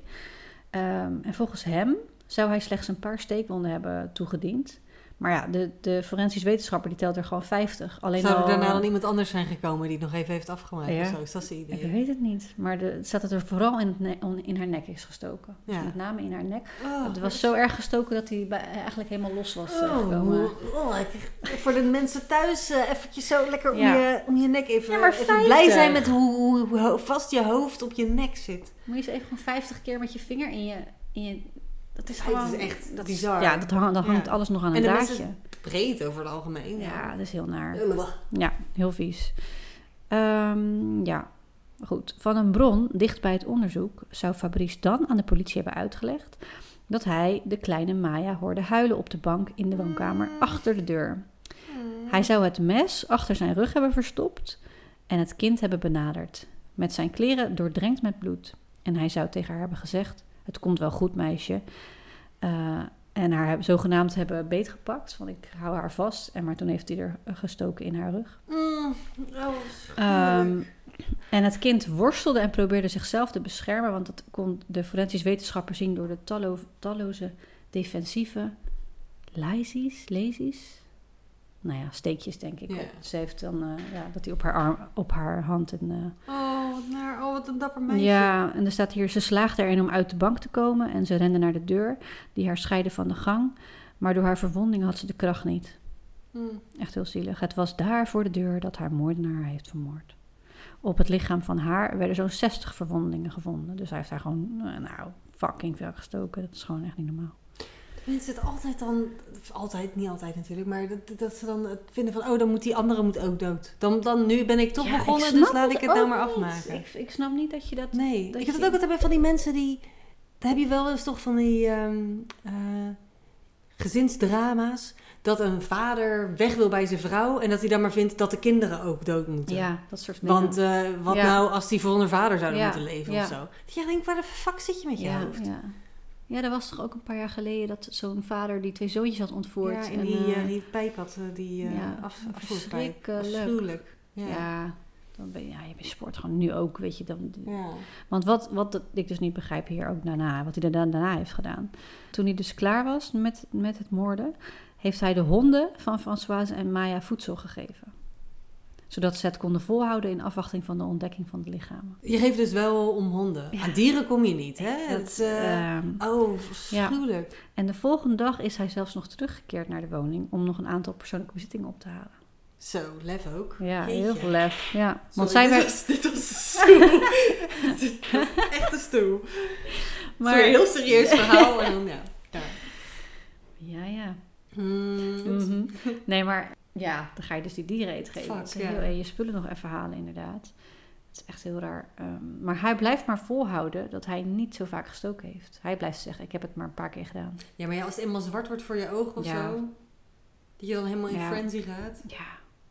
Speaker 1: Ehm, en volgens hem zou hij slechts een paar steekwonden hebben toegediend. Maar ja, de, de forensisch wetenschapper die telt er gewoon 50. Alleen
Speaker 2: Zou er
Speaker 1: al,
Speaker 2: daarna dan iemand anders zijn gekomen die het nog even heeft afgemaakt?
Speaker 1: Ja.
Speaker 2: of zo? Is dat zijn
Speaker 1: Ik
Speaker 2: idee?
Speaker 1: weet het niet. Maar de, het staat dat er vooral in, het ne- on- in haar nek is gestoken.
Speaker 2: Ja.
Speaker 1: Dus met name in haar nek.
Speaker 2: Oh,
Speaker 1: het was zo erg gestoken dat hij bij- eigenlijk helemaal los was eh,
Speaker 2: Oh,
Speaker 1: gekomen.
Speaker 2: oh, ik- voor de mensen thuis even eventjes zo lekker om,
Speaker 1: Ja.
Speaker 2: je, om je nek even,
Speaker 1: Ja, maar
Speaker 2: even blij
Speaker 1: 50.
Speaker 2: zijn met hoe, hoe, hoe ho- vast je hoofd op je nek zit.
Speaker 1: Moet je eens even gewoon 50 keer met je vinger in je... In je dat is
Speaker 2: Het is
Speaker 1: gewoon...
Speaker 2: echt
Speaker 1: dat
Speaker 2: bizar.
Speaker 1: ja, dat hang- dan hangt
Speaker 2: Ja.
Speaker 1: alles nog aan
Speaker 2: En
Speaker 1: een
Speaker 2: de mensen-
Speaker 1: draadje.
Speaker 2: Breed over het algemeen. Oh,
Speaker 1: Ja, dat is heel naar.
Speaker 2: Ugh.
Speaker 1: Ja, heel vies. Ehm, ja, goed. Van een bron dicht bij het onderzoek zou Fabrice dan aan de politie hebben uitgelegd dat hij de kleine Maya hoorde huilen op de bank in de woonkamer achter de deur. Hij zou het mes achter zijn rug hebben verstopt en het kind hebben benaderd. Met zijn kleren doordrenkt met bloed. En hij zou tegen haar hebben gezegd: Het komt wel goed, meisje. Eh, en haar heb- zogenaamd hebben beetgepakt. Van ik hou haar vast. En maar toen heeft hij er eh, gestoken in haar rug.
Speaker 2: Mm, oh,
Speaker 1: Ehm,
Speaker 2: schuur.
Speaker 1: en het kind worstelde en probeerde zichzelf te beschermen, want dat kon de forensisch wetenschapper zien door de tallo- talloze defensieve lazies, lezies. Nou ja, steekjes denk ik.
Speaker 2: Ja.
Speaker 1: op. Ze heeft dan eh, ja, dat hij op haar arm, op haar hand en eh,
Speaker 2: oh, wat naar, oh, wat een dapper meisje.
Speaker 1: ja, en er staat hier, ze slaagde erin om uit de bank te komen en ze rende naar de deur, die haar scheidde van de gang. Maar door haar verwonding had ze de kracht niet.
Speaker 2: Mm.
Speaker 1: Echt heel zielig. Het was daar voor de deur dat haar moordenaar haar heeft vermoord. Op het lichaam van haar werden zo'n 60 verwondingen gevonden. Dus hij heeft haar gewoon, eh, nou, fucking veel gestoken. Dat is gewoon echt niet normaal.
Speaker 2: Mensen het altijd dan, of altijd, niet altijd natuurlijk, maar dat, dat ze dan het vinden van, oh, dan moet die andere moet ook dood. Dan, dan nu ben ik toch
Speaker 1: Ja, ik
Speaker 2: begonnen,
Speaker 1: snap
Speaker 2: dus laat ik het
Speaker 1: ook
Speaker 2: nou maar
Speaker 1: niet.
Speaker 2: afmaken.
Speaker 1: Ik, ik snap niet dat je dat...
Speaker 2: Nee,
Speaker 1: dat
Speaker 2: ik heb
Speaker 1: je-
Speaker 2: het ook altijd bij van die mensen die... Daar heb je wel eens toch van die ehm, eh, gezinsdrama's... dat een vader weg wil bij zijn vrouw... en dat hij dan maar vindt dat de kinderen ook dood moeten.
Speaker 1: Ja, dat soort dingen.
Speaker 2: Want eh, wat
Speaker 1: Ja.
Speaker 2: nou als die voor hun vader zouden
Speaker 1: Ja,
Speaker 2: moeten leven
Speaker 1: ja.
Speaker 2: of zo? Dat je denkt, waar de fuck zit je met je
Speaker 1: ja,
Speaker 2: hoofd?
Speaker 1: ja. ja, er was toch ook een paar jaar geleden dat zo'n vader die twee zoontjes had ontvoerd.
Speaker 2: Ja, in
Speaker 1: en,
Speaker 2: die,
Speaker 1: eh,
Speaker 2: eh, die pijp had, eh, die eh
Speaker 1: ja,
Speaker 2: af, afvoerpijp.
Speaker 1: verschrikkelijk.
Speaker 2: Afschuwelijk. Ja.
Speaker 1: Ja.
Speaker 2: Ja.
Speaker 1: dan ben je, ja, je bent sport gewoon nu ook, weet je. Dan, Want wat, wat dat- ik dus niet begrijp hier ook daarna, wat hij er dan daarna heeft gedaan. Toen hij dus klaar was met, met het moorden, heeft hij de honden van Françoise en Maya voedsel gegeven. Zodat ze het konden volhouden in afwachting van de ontdekking van de lichamen.
Speaker 2: Je geeft dus wel om honden. Aan dieren kom je niet, hè?
Speaker 1: Dat,
Speaker 2: Dat, eh,
Speaker 1: ehm,
Speaker 2: oh, afschuwelijk.
Speaker 1: en de volgende dag is hij zelfs nog teruggekeerd naar de woning om nog een aantal persoonlijke bezittingen op te halen.
Speaker 2: Zo, lef ook.
Speaker 1: Ja,
Speaker 2: Jeetje.
Speaker 1: heel veel lef. Ja, want
Speaker 2: Sorry,
Speaker 1: zij werd...
Speaker 2: dit was, dit was een stoel. Dit was echt een stoel. Maar...
Speaker 1: Maar-
Speaker 2: een heel serieus verhaal. En dan, ja. ja.
Speaker 1: Ja, ja.
Speaker 2: Hmm.
Speaker 1: Mhm. Nee, maar ja, dan ga je dus die dieren eten geven.
Speaker 2: Fuck,
Speaker 1: Dat is
Speaker 2: ja.
Speaker 1: heel- en je spullen nog even halen, inderdaad. Het is echt heel raar. Ehm, maar hij blijft maar volhouden dat hij niet zo vaak gestoken heeft. Hij blijft dus zeggen, ik heb het maar een paar keer gedaan.
Speaker 2: Ja, maar ja, als het eenmaal zwart wordt voor je ogen of
Speaker 1: Ja.
Speaker 2: zo, dat je dan helemaal in
Speaker 1: Ja.
Speaker 2: frenzy gaat.
Speaker 1: Ja,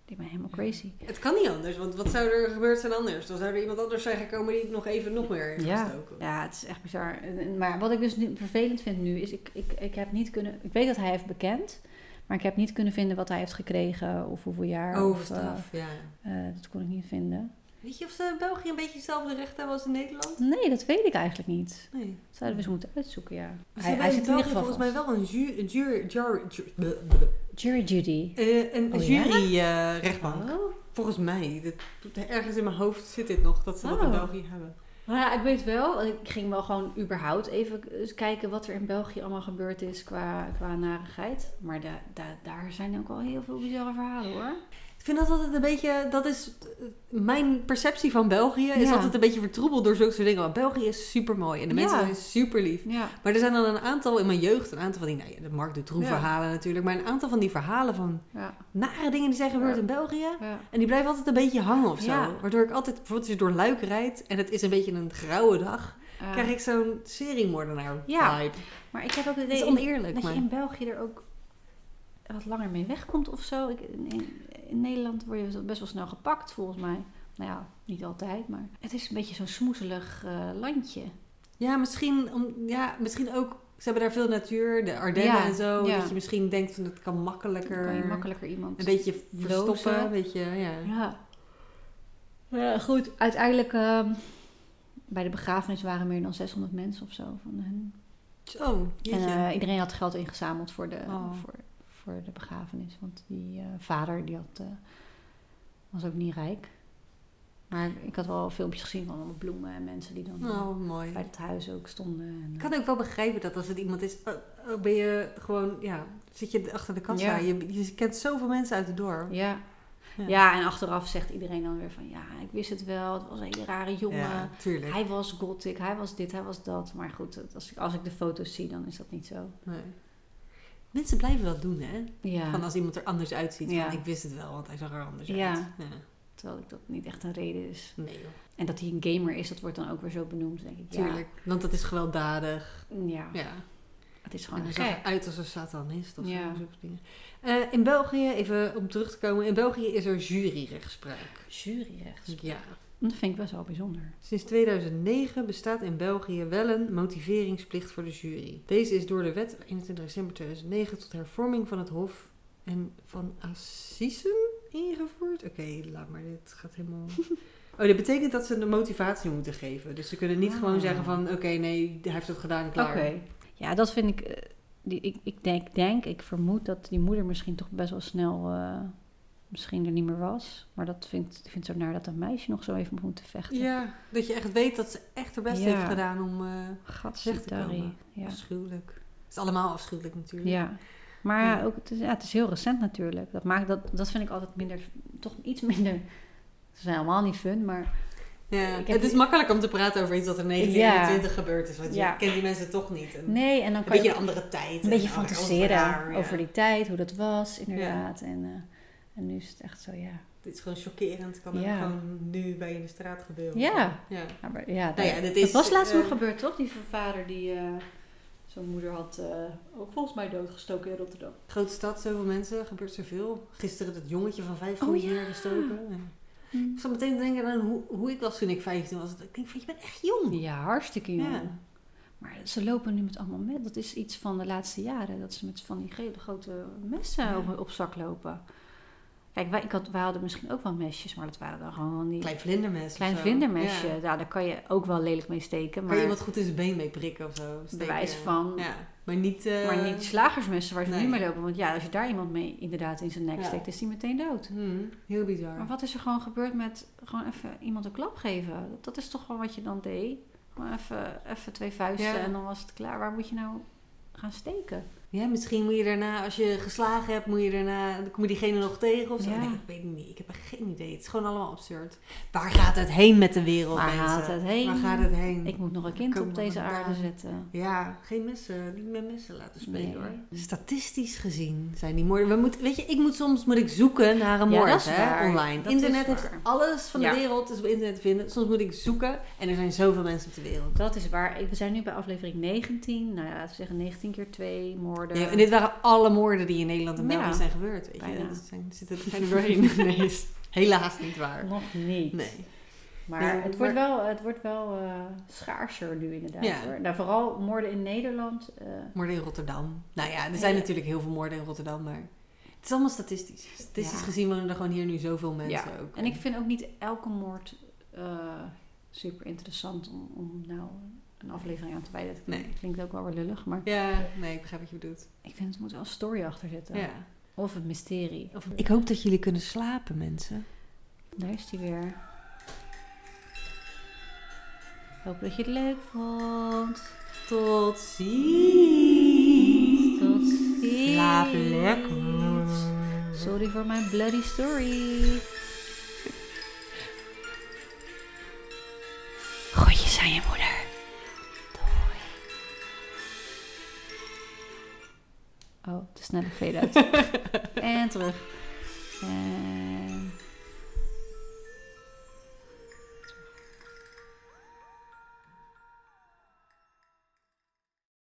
Speaker 1: deed mij helemaal crazy.
Speaker 2: Het kan niet anders, want wat zou er gebeurd zijn anders? Dan zou er iemand anders zijn gekomen die het nog even nog meer heeft
Speaker 1: Ja.
Speaker 2: gestoken.
Speaker 1: Ja, het is echt bizar. En- en- Maar wat ik dus nu vervelend vind nu is, ik, ik, ik heb niet kunnen. Ik weet dat hij heeft bekend, maar ik heb niet kunnen vinden wat hij heeft gekregen of hoeveel jaar.
Speaker 2: Oh,
Speaker 1: of,
Speaker 2: straf, ja.
Speaker 1: eh, eh, dat kon ik niet vinden.
Speaker 2: Weet je of ze in België een beetje hetzelfde recht hebben als in Nederland?
Speaker 1: Nee, dat weet ik eigenlijk niet.
Speaker 2: Nee.
Speaker 1: Zouden we eens moeten uitzoeken, ja.
Speaker 2: Ze
Speaker 1: Hij,
Speaker 2: hebben
Speaker 1: hij
Speaker 2: in
Speaker 1: zit in ieder
Speaker 2: België
Speaker 1: geval
Speaker 2: volgens mij
Speaker 1: vast.
Speaker 2: wel een ju- jury, jury, ju- bleh, bleh,
Speaker 1: Jury Judy.
Speaker 2: eh, een
Speaker 1: Oh, ja?
Speaker 2: jury eh, rechtbank.
Speaker 1: Oh.
Speaker 2: Volgens mij. Dit- ergens in mijn hoofd zit dit nog, dat ze dat in
Speaker 1: Oh.
Speaker 2: België hebben.
Speaker 1: Nou ja, ik weet wel. want Ik ging wel gewoon überhaupt even eens kijken wat er in België allemaal gebeurd is qua, qua narigheid. Maar da, da- daar zijn ook wel heel veel bizarre verhalen hoor.
Speaker 2: Ik vind dat altijd een beetje, dat is eh, mijn perceptie van België, is
Speaker 1: Ja.
Speaker 2: altijd een beetje vertroebeld door zulke soort dingen. Want België is super mooi en de mensen
Speaker 1: Ja.
Speaker 2: zijn super lief.
Speaker 1: Ja.
Speaker 2: Maar er zijn dan een aantal in mijn jeugd, een aantal van die, nou ja, de Mark de Troe
Speaker 1: Ja.
Speaker 2: verhalen natuurlijk, maar een aantal van die verhalen van
Speaker 1: Ja.
Speaker 2: nare dingen die zijn gebeurd
Speaker 1: Ja.
Speaker 2: in België.
Speaker 1: ja.
Speaker 2: En die blijven altijd een beetje hangen of zo.
Speaker 1: Ja.
Speaker 2: Waardoor ik altijd, bijvoorbeeld als je door Luik rijdt en het is een beetje een grauwe dag,
Speaker 1: Ja.
Speaker 2: krijg ik zo'n seriemoordenaar
Speaker 1: Ja.
Speaker 2: vibe.
Speaker 1: Maar ik heb ook het
Speaker 2: Dat is
Speaker 1: idee in-
Speaker 2: oneerlijk,
Speaker 1: dat
Speaker 2: maar...
Speaker 1: je in België er ook wat langer mee wegkomt of zo. Ik, in, in- in Nederland word je best wel snel gepakt, volgens mij. Nou ja, niet altijd, maar het is een beetje zo'n smoezelig eh, landje.
Speaker 2: Ja, misschien, om, ja, misschien ook, ze hebben daar veel natuur, de Ardennen
Speaker 1: Ja,
Speaker 2: en zo.
Speaker 1: ja.
Speaker 2: Dat je misschien denkt van het kan
Speaker 1: Dan
Speaker 2: makkelijker.
Speaker 1: kan je makkelijker iemand...
Speaker 2: Een beetje
Speaker 1: Lozen.
Speaker 2: verstoppen, een beetje, ja.
Speaker 1: Ja. Ja, goed. Uiteindelijk, ehm, bij de begrafenis waren meer dan 600 mensen of zo van hen.
Speaker 2: Oh,
Speaker 1: En
Speaker 2: jeetje.
Speaker 1: eh, iedereen had geld ingezameld voor de,
Speaker 2: Oh.
Speaker 1: voor, voor de begrafenis. Want die eh, vader die had, eh, was ook niet rijk. Maar ik had wel filmpjes gezien van allemaal bloemen en mensen die dan eh,
Speaker 2: oh, mooi.
Speaker 1: bij het huis ook stonden. En, eh,
Speaker 2: Ik kan ook wel begrijpen dat als het iemand is, eh, eh, ben je gewoon, ja, zit je achter de kassa.
Speaker 1: Ja.
Speaker 2: Je, je kent zoveel mensen uit het dorp.
Speaker 1: ja.
Speaker 2: Ja.
Speaker 1: Ja. en achteraf zegt iedereen dan weer van... Ja, ik wist het wel. Het was een hele rare jongen.
Speaker 2: Ja, tuurlijk.
Speaker 1: Hij was gothic. Hij was dit, hij was dat. Maar goed, het- als ik, als ik de foto's zie, dan is dat niet zo.
Speaker 2: Nee. Mensen blijven dat doen, hè?
Speaker 1: Ja.
Speaker 2: Van als iemand er anders uitziet.
Speaker 1: Ja.
Speaker 2: Van, ik wist het wel, want hij zag er anders
Speaker 1: Ja.
Speaker 2: uit. Ja.
Speaker 1: Terwijl ik dat niet echt een reden is.
Speaker 2: Nee, joh.
Speaker 1: En dat hij een gamer is, dat wordt dan ook weer zo benoemd. Dan denk ik, ja,
Speaker 2: tuurlijk. Want dat is gewelddadig.
Speaker 1: Ja,
Speaker 2: Ja.
Speaker 1: het is
Speaker 2: En
Speaker 1: gewoon
Speaker 2: hij
Speaker 1: een
Speaker 2: zag
Speaker 1: gek.
Speaker 2: eruit als een satanist of
Speaker 1: Ja.
Speaker 2: zo. zulke dingen. Eh, in België, even om terug te komen, in België is er juryrechtspraak.
Speaker 1: Juryrecht.
Speaker 2: Ja.
Speaker 1: Dat vind ik best wel bijzonder.
Speaker 2: Sinds 2009 bestaat in België wel een motiveringsplicht voor de jury. Deze is door de wet op 21 december 2009 tot hervorming van het Hof en van Assisen ingevoerd. Oké, laat maar, dit gaat helemaal. Oh, dat betekent dat ze een motivatie moeten geven. Dus ze kunnen niet
Speaker 1: Ah.
Speaker 2: gewoon zeggen van, oké, nee, hij heeft het gedaan,
Speaker 1: Oké.
Speaker 2: klaar.
Speaker 1: Ja, dat vind ik... eh, die, ik, ik denk, denk, ik vermoed dat die moeder misschien toch best wel snel... eh, misschien er niet meer was. Maar dat vindt, ik vind het zo naar dat een meisje nog zo even moet moeten vechten.
Speaker 2: Ja, dat je echt weet dat ze echt haar best
Speaker 1: Ja.
Speaker 2: heeft gedaan om... eh, Recht te
Speaker 1: Gadverdamme.
Speaker 2: komen.
Speaker 1: Ja.
Speaker 2: Afschuwelijk. Het is allemaal afschuwelijk natuurlijk.
Speaker 1: Ja, maar
Speaker 2: Ja.
Speaker 1: ja, ook, het, is, ja, het is heel recent natuurlijk. Dat, maakt, dat, dat vind ik altijd minder, toch iets minder. Ze zijn allemaal niet fun, maar
Speaker 2: Ja,
Speaker 1: Ik heb-
Speaker 2: Het is makkelijk om te praten over iets dat in 1921 gebeurd is. Want
Speaker 1: Ja.
Speaker 2: je kent die mensen toch niet. En
Speaker 1: nee. En dan
Speaker 2: Een
Speaker 1: kan
Speaker 2: beetje
Speaker 1: je
Speaker 2: een andere tijd.
Speaker 1: een beetje
Speaker 2: en andere
Speaker 1: fantaseren
Speaker 2: raar, ja.
Speaker 1: over die tijd, hoe dat was, inderdaad. En, eh, en nu is het echt zo, ja.
Speaker 2: Dit is gewoon chockerend. Kan ook
Speaker 1: Ja.
Speaker 2: gewoon nu bij je in de straat gebeuren.
Speaker 1: Ja.
Speaker 2: ja.
Speaker 1: Ja, maar, ja,
Speaker 2: Nou ja,
Speaker 1: dat-
Speaker 2: dit
Speaker 1: dat
Speaker 2: is,
Speaker 1: was laatst
Speaker 2: eh,
Speaker 1: nog gebeurd, toch? Die vader die eh, zo'n moeder had eh, ook volgens mij doodgestoken in Rotterdam.
Speaker 2: Grote stad, zoveel mensen, gebeurt zoveel. Gisteren dat jongetje van 15
Speaker 1: Oh, ja.
Speaker 2: weer gestoken. Ja. Ik zat meteen te denken aan hoe, hoe ik was toen ik 15 was. Ik denk van, je bent echt jong.
Speaker 1: Ja, hartstikke jong.
Speaker 2: Ja.
Speaker 1: Maar ze lopen nu met allemaal met. Dat is iets van de laatste jaren. Dat ze met van die gele grote messen
Speaker 2: Ja.
Speaker 1: op, op zak lopen. Kijk, wij, ik had, wij hadden misschien ook wel mesjes. Maar dat waren dan gewoon van die klein,
Speaker 2: Klein vlindermes. of zo.
Speaker 1: vlindermesje.
Speaker 2: Ja.
Speaker 1: Ja. daar kan je ook wel lelijk mee steken.
Speaker 2: Kan
Speaker 1: Maar,
Speaker 2: je iemand goed in zijn been mee prikken of zo? Steken.
Speaker 1: Bewijs van-
Speaker 2: Ja. Maar niet... eh,
Speaker 1: maar niet slagersmessen waar ze
Speaker 2: nee.
Speaker 1: nu mee lopen. Want ja, als je daar iemand mee inderdaad in zijn nek
Speaker 2: Ja.
Speaker 1: steekt, is die meteen dood.
Speaker 2: Hmm, heel bizar.
Speaker 1: Maar wat is er gewoon gebeurd met gewoon even iemand een klap geven? Dat, dat is toch gewoon wat je dan deed? Gewoon even, even twee vuisten
Speaker 2: Ja.
Speaker 1: en dan was het klaar. Waar moet je nou gaan steken?
Speaker 2: Ja, misschien moet je daarna, als je geslagen hebt, moet je daarna, dan kom je diegene nog tegen of zo.
Speaker 1: Ja.
Speaker 2: Nee, ik weet het niet. Ik heb echt geen idee. Het is gewoon allemaal absurd. Waar gaat het heen met de wereld,
Speaker 1: Waar
Speaker 2: mensen?
Speaker 1: gaat het heen?
Speaker 2: Waar gaat het heen?
Speaker 1: Ik moet nog een kind
Speaker 2: Komen
Speaker 1: op deze
Speaker 2: we
Speaker 1: aarde
Speaker 2: vandaan?
Speaker 1: zetten.
Speaker 2: Ja, geen messen. Niet met messen laten spelen,
Speaker 1: Nee.
Speaker 2: hoor. Statistisch gezien zijn die moorden... We moeten, weet je, ik moet soms moet ik zoeken naar een
Speaker 1: Ja,
Speaker 2: moord,
Speaker 1: dat is
Speaker 2: hè,
Speaker 1: waar.
Speaker 2: online.
Speaker 1: Dat
Speaker 2: internet
Speaker 1: is
Speaker 2: heeft
Speaker 1: waar.
Speaker 2: alles van
Speaker 1: Ja.
Speaker 2: de wereld, is op internet te vinden. Soms moet ik zoeken en er zijn zoveel mensen op de wereld.
Speaker 1: Dat is waar. Ik- We zijn nu bij aflevering 19. Nou ja, laten we zeggen 19 keer 2 moord. moorden.
Speaker 2: Ja, en dit waren alle moorden die in Nederland en België
Speaker 3: Ja.
Speaker 2: zijn gebeurd. Weet je?
Speaker 1: Bijna.
Speaker 2: Dat zijn, zitten er geen doorheen. Nee, is helaas niet waar.
Speaker 1: Nog niet.
Speaker 2: Nee.
Speaker 1: Maar,
Speaker 2: Nee,
Speaker 1: het, wordt wel, het wordt wel eh, schaarser nu inderdaad.
Speaker 2: Ja.
Speaker 1: Hoor. Nou, vooral moorden in Nederland. eh,
Speaker 2: Moorden in Rotterdam. Nou ja, er zijn
Speaker 1: Ja.
Speaker 2: natuurlijk heel veel moorden in Rotterdam, maar het is allemaal statistisch. Statistisch
Speaker 1: Ja.
Speaker 2: gezien wonen er gewoon hier nu zoveel mensen ook.
Speaker 1: en ik vind ook niet elke moord eh, super interessant om, om nou een aflevering aan te wijden. Dat
Speaker 2: Nee.
Speaker 1: klinkt ook wel weer lullig, maar
Speaker 2: Ja, nee, ik begrijp wat je bedoelt.
Speaker 1: ik vind het moet wel een story achter zitten.
Speaker 2: Ja.
Speaker 1: Of een mysterie.
Speaker 2: Of- Ik hoop dat jullie kunnen slapen, mensen.
Speaker 1: Daar is die weer. Hoop dat je het leuk vond.
Speaker 2: Tot ziens.
Speaker 1: Tot ziens.
Speaker 2: Slaap lekker.
Speaker 1: Sorry voor mijn bloody story. Goedjes aan je moeder. Doei. Oh, te snelle fade out. en terug. En...